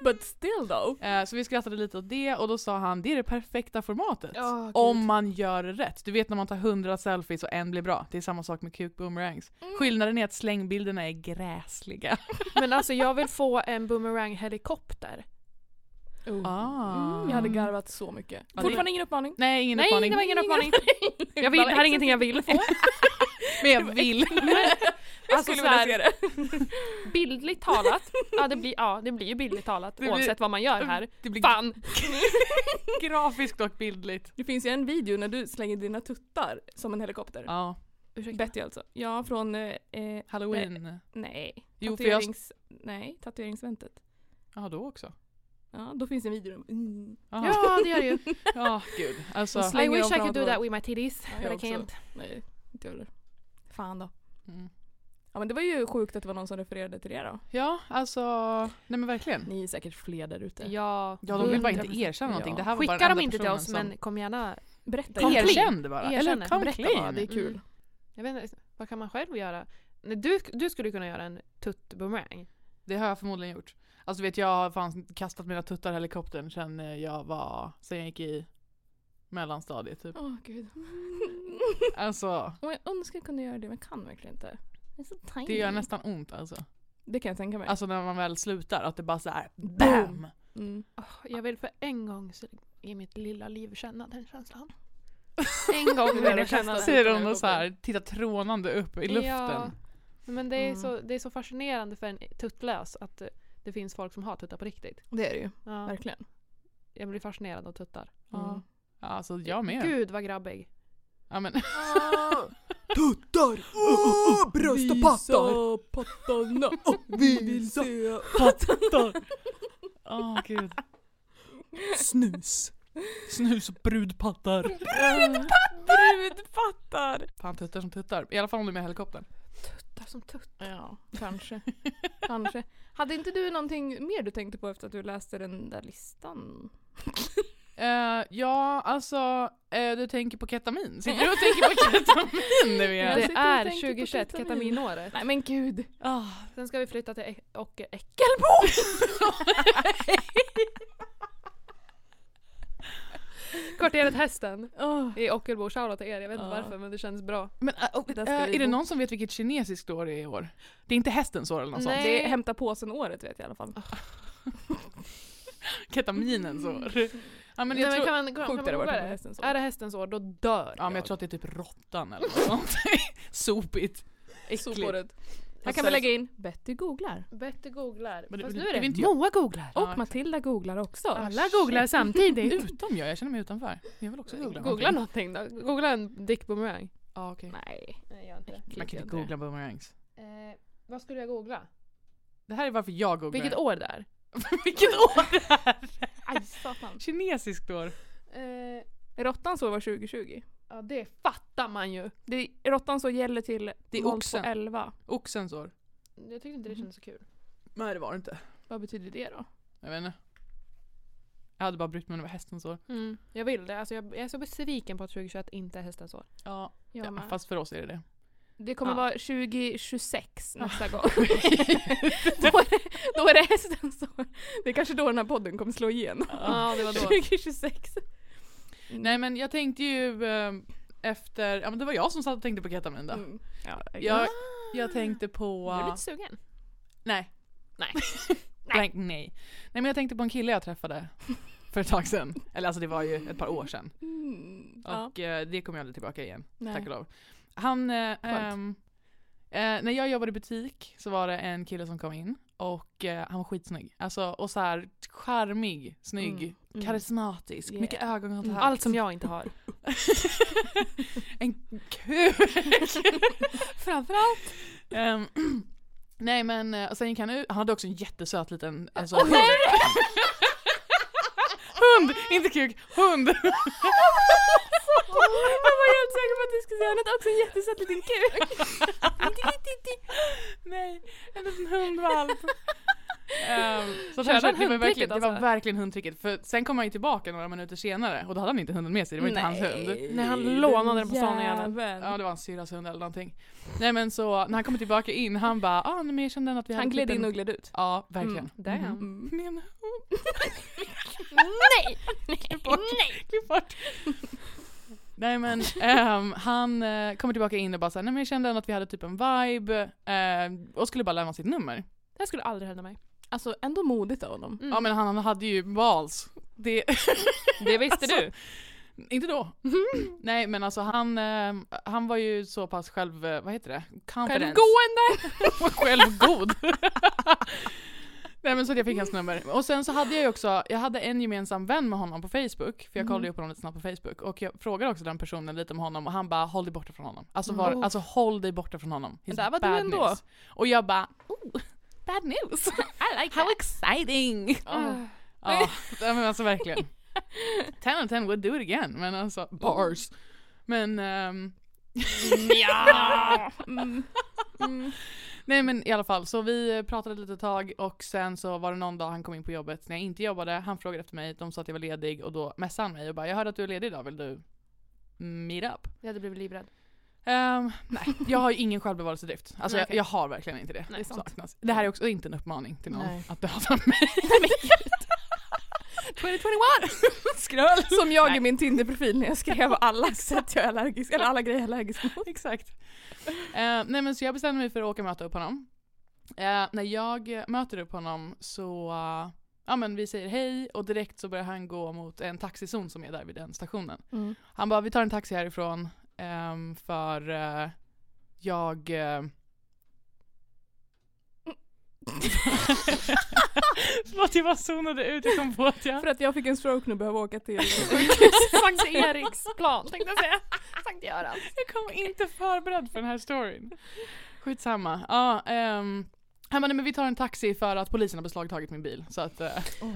But still though.
Eh, så vi skrattade lite åt det och då sa han det är det perfekta formatet.
Ja, gud.
om man gör det rätt. Du vet när man tar hundra selfies och en blir bra. Det är samma sak med kuk boomerangs.
Mm.
Skillnaden är att slängbilderna är gräsliga.
Men alltså jag vill få en boomerang helikopter.
Ah.
Mm,
Jag hade garvat så mycket.
det-
Fortfarande ingen uppmaning.
Nej, ingen
Nej,
uppmaning.
det var ingen uppmaning. Jag vill, det här är ingenting jag vill få.
Men jag vill.
Alltså
skulle vilja
såhär,
se det.
bildligt talat. Ja det, blir, ja det blir ju bildligt talat
blir- Mm. Alltså,
oavsett vad man gör här.
Det blir
Fan!
grafiskt och bildligt.
Det finns ju en video när du slänger dina tuttar som en helikopter.
Ja,
Ursäkta.
Betty alltså. Ja, från... Eh, eh,
halloween.
nej.
Jo, för jag-
Tatuerings... Nej, tatueringsväntet.
Ja, då också.
Ja, då finns det en video. om- Mm.
Aha.
Ja det gör det ju.
Ja, gud. Alltså,
Och
I
Slänger
wish I
dem
could do
framför.
that with my titties.
Ja,
but
jag
I
också.
can't.
Nej, inte jag heller. Fan då.
mm.
Ja men det var ju sjukt att det var någon som refererade till det då.
ja, alltså. Nej men verkligen.
Ni är säkert fler där ute.
Ja,
Ja, de vill bara inte
100%.
erkänna någonting.
Ja.
Det här var bara
Skicka
den
dem
enda
inte till
personen
oss
som-
men kom gärna.
Berätta.
Kom clean.
Erkänn det bara.
Erkänn
Eller
det.
come
Berätta bara,
clean.
det är kul.
Mm. Jag vet inte, vad kan man själv göra? Nej, Du, du skulle kunna göra en tutt-boomerang.
Det har jag förmodligen gjort. Alltså vet jag har fan kastat mina tuttar i helikoptern sen eh, jag var, sen jag gick i mellanstadiet typ.
Åh gud.
Alltså,
Och jag önskar jag kunde göra det men jag kan verkligen inte. Det är så tiny.
det gör nästan ont alltså.
Det kan jag tänka mig.
Alltså när man väl slutar, att det bara så här, BAM!
Mm.
Åh, Ah, jag vill för en gång så- i mitt lilla liv känna den känslan. En gång vill jag känna den.
Säger hon och så här, tittar trånande upp i
Ja,
luften.
men det är,
Mm.
så, det är så fascinerande för en tuttlös att eh, det finns folk som har tuttar på riktigt.
Det är det ju.
Ja,
Verkligen.
jag blir fascinerad av tuttar. Mm.
Ja. Ja, alltså jag med.
Gud vad grabbig.
Ja, men,
Tuttar! Oh, oh, oh, bröst och pattar!
pattarna.
Vi vill se
pattar! Åh gud.
snus.
Snus och brudpattar.
Brudpattar!
Fan tuttar som tuttar. I alla fall om du är med i helikoptern.
Tuttar som tutt.
Ja, kanske. kanske. Hade inte du någonting mer du tänkte på efter att du läste den där listan?
Eh, ja, alltså eh, du tänker på ketamin. Sitter du och tänker på ketamin nu
Jag
Det
igen?
sitter och
är
tänker på
2021,
ketamin.
ketaminåret.
Nej men gud.
Ah,
Sen ska vi flytta till Ä- och Äck. Kvarteret Hästen i Ockelbo. Shoutout till er, jag vet inte
Ja.
varför men det känns bra.
Men eh, och,
Där ska
eh,
vi
är det
bo.
någon som vet vilket kinesiskt år det är i år? Det är inte hästens år eller något sånt?
Det
Nej.
är hämta påsen-året vet jag i alla fall.
Ketaminens år. Ja men
Nej,
jag
men
tror,
kan man, kan,
Sjukt
kan man
det hade varit
googla
med
det?
hästens år.
Är det hästens år, då dör
ja, men jag tror att det är typ råttan eller något sånt. Sopigt. Äckligt.
Sopåret. Här kan vi lägga in Betty googlar.
Bättre googlar.
Men det-
Fast nu
det
är
vill
det
inte jag.
Moa googlar.
Ja,
Och Matilda googlar också.
Alla googlar samtidigt.
Utom jag, jag känner mig utanför. Jag vill också googla.
Googla någonting då. Googla en dick boomerang.
Ja, okej.
Nej.
Nej, jag inte.
Man kan inte googla boomerangs.
Eh, vad skulle jag googla?
Det här är varför jag googlar.
Vilket år det är?
Vilket år det här?
Aj satan.
Kinesiskt år.
Eh,
Råttans år var 2020.
ja, det fattar man ju.
Det, råttans år gäller till
Det är
0 på
oxen.
11.
Oxens år.
Jag tyckte inte det kändes så kul.
Nej det var det inte.
Vad betyder det då?
Jag vet inte. Jag hade bara brytt mig om det var hästens år.
Mm, jag vill det. Alltså, jag, jag är så besviken på att 2021 inte är hästens år.
Ja,
Jag
ja
med.
fast för oss är det det.
Det kommer
Ja.
vara 2026 nästa gång. då, är det, då är det hästens år. Det är kanske då den här podden kommer slå igenom.
Ja, det var då.
2026.
Nej men jag tänkte ju eh, efter, ja men det var jag som satt och tänkte på ketamin då.
Mm. Ja,
Jag, jag tänkte
Jag är
på...
lite sugen.
Nej.
Nej.
Blank, nej. Nej men jag tänkte på en kille jag träffade för ett tag sedan. Eller alltså det var ju ett par år sedan.
Mm. Ja.
Och eh, det kommer jag aldrig tillbaka igen.
Nej.
Tack och lov. Han, eh,
Skönt.
ehm, eh, när jag jobbade i butik så var det en kille som kom in och eh, han var skitsnygg. Alltså, och så här charmig, snygg,
Mm, mm.
karismatisk,
Yeah.
mycket ögonkontakt.
Mm. Allt som jag inte har.
en kuk! Framförallt. Ehm, nej men, eh, och sen gick han ut, han hade också en jättesöt liten alltså,
Åh,
hund.
nej!
hund, inte kuk, hund.
Jag var helt säker på att du skulle säga något också, en jättesöt liten kuk.
Nej, en liten hundvalp. Ehm, så
Körde
kanske,
han
det, var verkligen,
hundtricket
det var
alltså?
verkligen hundtricket. För sen kom han ju tillbaka några minuter senare och då hade han inte hunden med sig, det var inte hans hund.
Nej, han lånade den på stan igen.
jäveln.
Ja det var hans syrras hund eller någonting. Nej men så när han kommer tillbaka in han bara ah, nej, men jag kände att vi hade
Han gled
klippt en-
in och Mm. gled ut.
Ja verkligen.
Damn.
Men
Nej! Nej!
Nej! Klipp bort. Nej men ehm, han eh, kommer tillbaka in och bara såhär, nej men jag kände ändå att vi hade typ en vibe eh, och skulle bara lämna sitt nummer.
Det här skulle aldrig hända mig.
Alltså ändå modigt av honom.
Ja men han, han hade ju balls. Det,
Det visste
Alltså,
du.
Inte då. Nej men alltså han, eh, han var ju så pass själv, eh, vad heter det? Confident.
Självgående!
Självgod. Nej men så att jag fick hans nummer. Och sen så hade jag ju också, jag hade en gemensam vän med honom på Facebook. För jag
Mm.
kollade ju upp honom lite snabbt på Facebook. Och jag frågade också den personen lite om honom och han bara håll dig borta från honom. Alltså, var,
Mm.
alltså håll dig borta från honom.
Men
He's
där var du
bad
ändå.
news. Och jag bara oh,
Bad news. I like
how exciting!
Ah.
Ja, nej, men alltså verkligen. 10 of 10 would do it again. Men alltså, bars.
Oh.
Men... ehm,
Ja. Mm. Mm.
Nej men i alla fall, så vi pratade lite tag och sen så var det någon dag han kom in på jobbet när jag inte jobbade. Han frågade efter mig, de sa att jag var ledig och då messade han mig och bara “Jag hörde att du är ledig idag, vill du meet up?”
Jag hade blivit livrädd.
Ehm, Nej, jag har ju ingen självbevarelsedrift. Alltså
Nej,
jag,
okej.
jag har verkligen inte det.
Nej,
det
sant.
saknas. Det här är också inte en uppmaning till någon
Nej.
att döda mig.
2021!
Skrull!
Som jag
Nej.
i min Tinder-profil när jag skrev alla sätt jag är allergisk, eller alla grejer jag är allergisk mot.
Exakt. Eh, nej men så jag bestämde mig för att åka och möta upp honom. Eh, när jag möter upp honom så, eh, ja men vi säger hej och direkt så börjar han gå mot en taxizon som är där vid den stationen.
Mm.
Han bara, vi tar en taxi härifrån ehm, för eh, jag... eh, Förlåt jag bara zonade ut, jag kom på att jag...
För att jag fick en stroke nu och behöver åka till Sankt Eriksplan tänkte jag säga. Sankt Görans.
Jag kom inte förberedd för den här storyn. Skitsamma. Ja, ehm, han bara, nej men vi tar en taxi för att polisen har beslagtagit min bil. Så att, eh,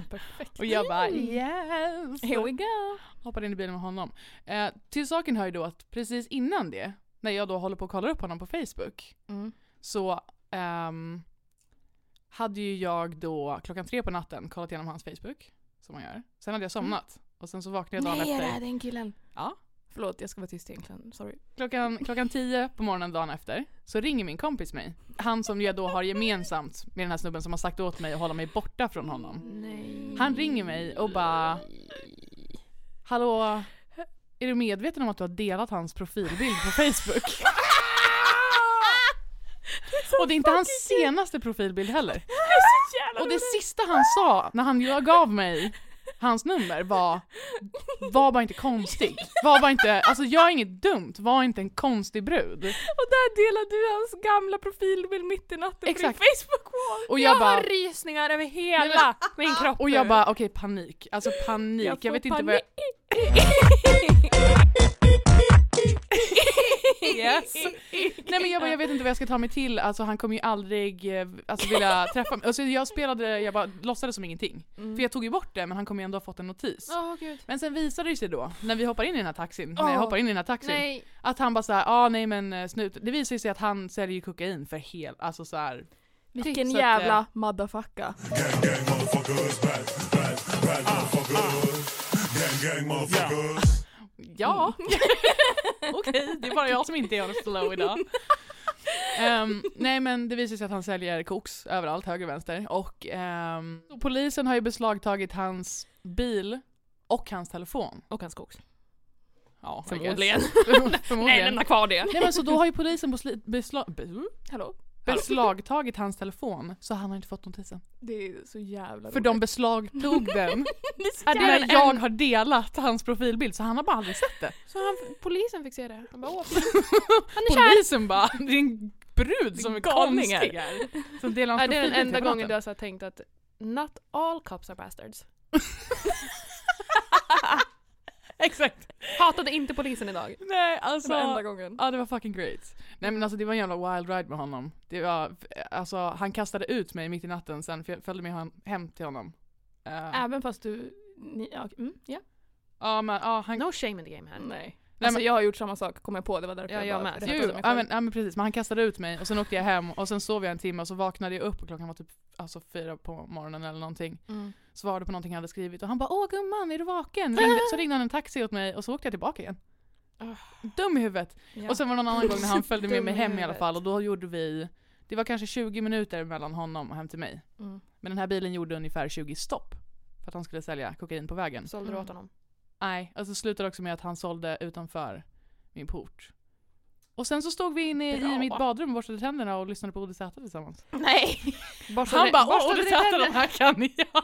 perfekt.
och jag bara
Mm.
yes!
Here we go.
Hoppade in i bilen med honom. Eh, till saken hör ju då att precis innan det, när jag då håller på och kollar upp honom på Facebook,
Mm.
så ehm, hade ju jag då klockan tre på natten kollat igenom hans Facebook, som man gör. Sen hade jag somnat. Och sen så vaknade jag dagen
Mm. Nej, det
efter.
är den killen.
Ja.
Förlåt, jag ska vara tyst egentligen. Sorry.
Klockan, klockan tio på morgonen dagen efter så ringer min kompis mig. Han som jag då har gemensamt med den här snubben som har sagt åt mig att hålla mig borta från honom.
Nej.
Han ringer mig och bara Hallå, är du medveten om att du har delat hans profilbild på Facebook? Och det är inte hans senaste profilbild heller.
Det är så jävla
Och det sista han sa när han ju gav mig hans nummer var Var bara inte konstig. Var bara inte, alltså gör inget dumt, var inte en konstig brud.
Och där delar du hans gamla profilbild mitt i natten
Exakt.
på din Facebook-wall.
Och jag bara-
har rysningar över hela
Nej,
min kropp
Och jag bara okej panik, alltså panik. Jag,
får
vet inte vad jag... Yes. Nej men jag bara jag vet inte vad jag ska ta mig till, alltså han kommer ju aldrig eh, alltså, vilja träffa mig. Alltså, jag spelade, jag bara låtsades som ingenting. För jag tog ju bort det men han kommer ju ändå ha fått en notis.
Mm. Åh gud.
Men sen visade det sig då, när vi hoppar in i den här taxin, när jag
Åh.
hoppar in i den här taxin,
Nej.
att han bara såhär, ja ah, nej men eh, snut. Det visar ju sig att han säljer ju kokain för hel, alltså såhär.
Vilken
Så att,
jävla
eh,
motherfucker.
Gang gang motherfuckers, bad, bad, bad motherfuckers. Gang gang motherfuckers.
Ja. Okej, det är bara jag som inte är on flow idag. Ehm, nej men det visar sig att han säljer koks överallt, höger och vänster. Och ehm, polisen har ju beslagtagit hans bil och hans telefon.
Och hans koks.
Ja, I guess.
Förmodligen.
Förmodligen.
Nej, lämna kvar det.
Nej men så då har ju polisen besli- beslag... be-
Hallå?
beslagtagit hans telefon så han har inte fått notisen.
Det är så jävla
För de beslagtog den
är så jävla
när jag
en-
har delat hans profilbild så han har bara aldrig sett det.
Så han, polisen fick se det. Han bara åh,
Polisen bara, det är en brud som är konstig
Galningar.
här. Som delar hans
Är det den
profilbild
enda
till
gången
kamraten.
du har så här tänkt att not all cops are bastards?
Exakt.
Hatade inte polisen idag.
Nej alltså.
Det var enda gången.
Ja det var fucking great. Nej men alltså det var en jävla wild ride med honom. Det var, alltså han kastade ut mig mitt i natten sen för jag följde med han- hem till honom. Eh,
Även fast du... Ni, ja, mm, ja.
Ja, men, ja, han...
No shame in the game här.
Nej.
Nej,
alltså,
men-
jag har gjort samma sak kom jag på, det var därför
Ja, jag
bara
med.
rättade
Jo, jo.
mig
ja,
själv.
men, ja men precis, men han kastade ut mig och sen åkte jag hem och sen sov jag en timme och så vaknade jag upp och klockan var typ alltså, fyra på morgonen eller någonting.
Mm.
Svarade på någonting jag hade skrivit och han bara åh gumman är du vaken? Ringde, så ringde han en taxi åt mig och så åkte jag tillbaka igen. Dum i huvudet.
Ja.
Och sen var det någon annan gång när han följde med
Dum
mig
i
hem i alla
huvudet.
fall och då gjorde vi, det var kanske 20 minuter mellan honom och hem till mig.
Mm.
Men den här bilen gjorde ungefär 20 stopp. För att han skulle sälja kokain på vägen.
Sålde du åt honom?
Nej, och så slutade det också med att han sålde utanför min port. Och sen så stod vi inne i
Bra.
mitt badrum och borstade tänderna och lyssnade på Olle Z tillsammans.
Nej!
han bara åh Olle Z, de här kan ni jag!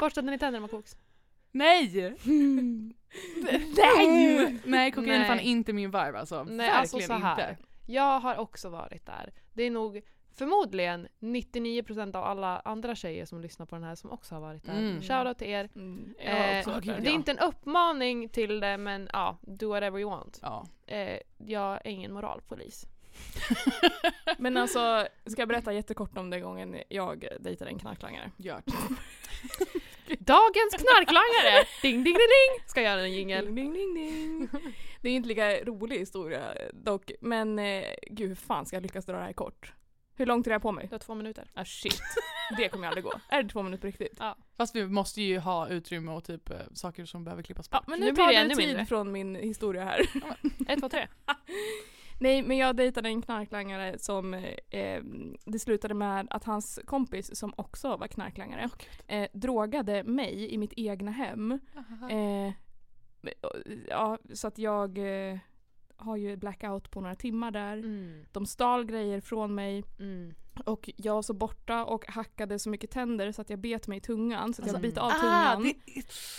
Borstade ni tänderna med koks?
Nej!
Nej!
Nej, kokain är fan
Nej.
inte min vibe alltså.
Nej,
Verkligen
alltså så här.
inte.
Jag har också varit där. Det är nog förmodligen 99% av alla andra tjejer som lyssnar på den här som också har varit där.
Mm.
Shoutout till er.
Mm, jag har
Eh,
också varit där.
det är inte en uppmaning till det men ja, do whatever you want.
Ja.
Eh, jag är ingen moralpolis.
Men alltså, ska jag berätta jättekort om den gången jag dejtade en knarklangare?
Gör
Dagens knarklangare! ding, ding, ding, ding! Ska jag göra en jingel.
Ding, ding, ding, ding. Det är inte lika rolig historia dock, men eh, gud hur fan ska jag lyckas dra det här kort? Hur långt är det här på mig?
Du har två minuter.
Ah shit, det kommer jag aldrig gå. Är det två minuter på riktigt?
Ja.
Fast vi måste ju ha utrymme och typ eh, saker som behöver klippas bort.
Ja, men nu,
Nu blir
tar
det
du
ännu
tid
mindre.
från min historia här.
Ett, två, tre.
Nej, men jag dejtade en knarklangare som eh, det slutade med att hans kompis som också var knarklangare eh, drogade mig i mitt egna hem. Eh, ja, så att jag eh, har ju blackout på några timmar där.
Mm,
De stal grejer från mig
mm.
och jag var så borta och hackade så mycket tänder så att jag bet mig i tungan så att jag
Alltså,
bit av
ah,
tungan.
det-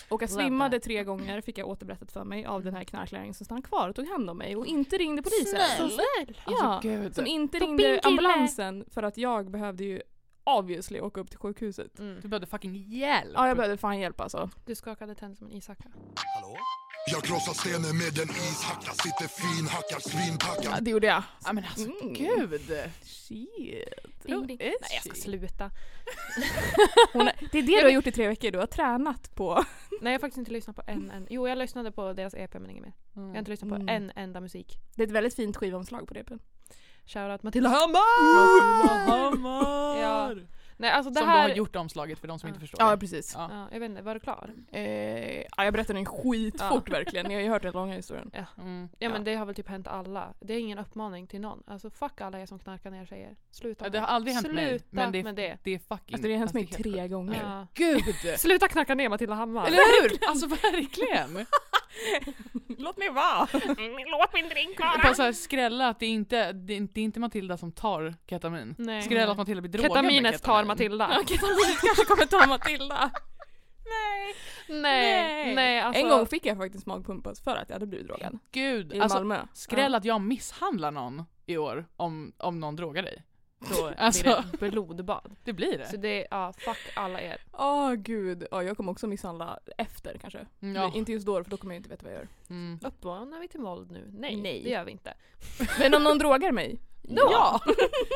Och jag
Love
svimmade tre gånger fick jag återberättat för mig av den här knarkläraren som stannade kvar och tog hand om mig och inte ringde polisen.
Så snäll!
Ja,
Alltså, gud.
som inte
Topping
ringde
kille.
ambulansen för att jag behövde ju obviously åka upp till sjukhuset.
Mm.
Du behövde fucking hjälp!
Ja, jag behövde fan hjälp alltså.
Du skakade tänd som en ishacka.
Jag krossar stenen med en ishacka, sitter fin, hackar svinpackad.
det gjorde jag.
Ja, men alltså
Mm.
gud!
Shit.
Ding, ding.
Nej,
Nej, jag ska sluta.
Hon är, det är det du har gjort i tre veckor, du har tränat på...
Nej, jag har faktiskt inte lyssnat på en, en... Jo, jag lyssnade på deras EP men inget mer. Jag har inte lyssnat på
Mm.
en enda musik.
Det är ett väldigt fint skivomslag på det.
Shoutout Matilda Hammar!
Hammar!
Ja. Nej, alltså det
som
här...
då har gjort omslaget för de som inte förstår.
Ja,
det.
precis.
Ja.
Ja, jag vet inte, var du klar?
Eh, ja, jag berättade den skitfort verkligen, ni har ju hört den långa historien.
Mm.
Ja, men
Ja.
det har väl typ hänt alla. Det är ingen uppmaning till någon. Alltså fuck alla er som knarkar ner tjejer. Sluta
Ja,
med
det har aldrig hänt mig,
Sluta
men det är-
med det.
Det är fucking...
Alltså det har hänt mig
alltså, det är
tre
helt
gånger.
Ja.
sjukt. Gud!
Sluta knarka ner Matilda Hammar.
Eller hur? Alltså verkligen!
Låt mig vara!
Mm,
Låt min drink
Bara såhär skrälla att det är inte det är, inte- det är inte Matilda som tar ketamin.
Nej.
Skrälla att Matilda blir drogad med
Ketaminet tar
ketamin.
Matilda.
Ja, Kataminet kanske kommer ta Matilda. Nej.
Nej, nej alltså.
En gång fick jag faktiskt magpumpas för att jag hade blivit drogad.
Gud!
I
Alltså
Malmö.
skräll att jag misshandlar någon i år om, om någon drogar dig.
då blir
Alltså.
det blodbad.
Det blir
Så
det.
det, ja fuck alla er.
Åh gud. Ja, jag kommer också misshandla efter kanske.
Mm, Ja.
Men Inte just då för då kommer jag inte veta vad jag gör.
Mm.
Uppmanar vi till våld nu? Nej,
Nej.
det gör vi inte.
Men om någon drogar mig.
Ja!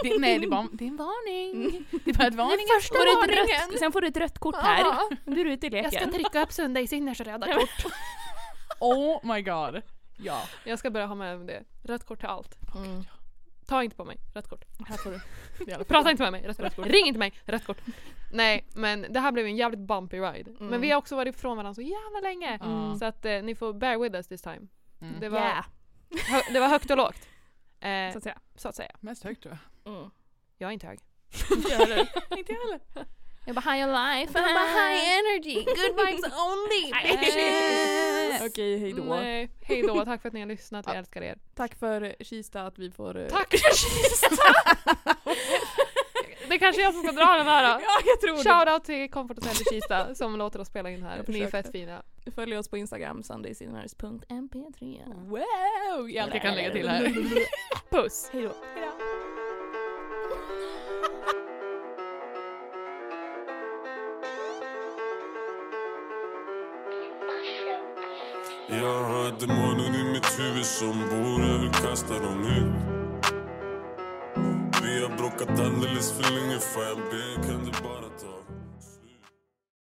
Det, nej, det är, bara, det är en varning. Det är bara ett varning.
Första
Får du ett rött, sen får du ett rött kort här. Du är ute i
Jag ska
leken.
trycka upp söndag i röda kort.
Oh my god. Ja.
Jag ska börja ha med mig det. Rött kort till allt.
Mm.
Ta inte på mig, rött kort.
Här får du.
Prata inte med mig, rött kort. Ring inte mig, rött kort. Nej, men det här blev en jävligt bumpy ride. Men
Mm.
vi har också varit ifrån varandra så jävla länge.
Mm.
Så att eh, ni får bear with us this time.
Mm.
Det, var,
Yeah.
hö- det var högt och lågt. Eh,
Så att säga.
så att säga.
Mest högt tror jag.
Mm.
Jag är inte hög.
Inte jag heller. Inte jag heller. Jag bara high on life.
energy, good vibes only. Mm.
bitch.
Okej,
Okej, hej då.
Nej, hej då. Tack för att ni har lyssnat. Vi
Ja.
älskar er.
Tack för Kista att vi får... eh,
Tack för Kista! det kanske är jag som ska dra den här då.
Ja, jag tror det.
Shoutout till Comfort Hotel i Kista som låter oss spela in här.
Jag
Ni är fett
försökte.
fina.
Följ oss på Instagram, sundaysinvers.mp3.
Wow! Allt jag kan lägga till här. Puss!
Hej då.
Jag har demoner i mitt huvud som bor, jag vill kasta dem ut Vi har bråkat alldeles för länge, fan jag ber kan du bara ta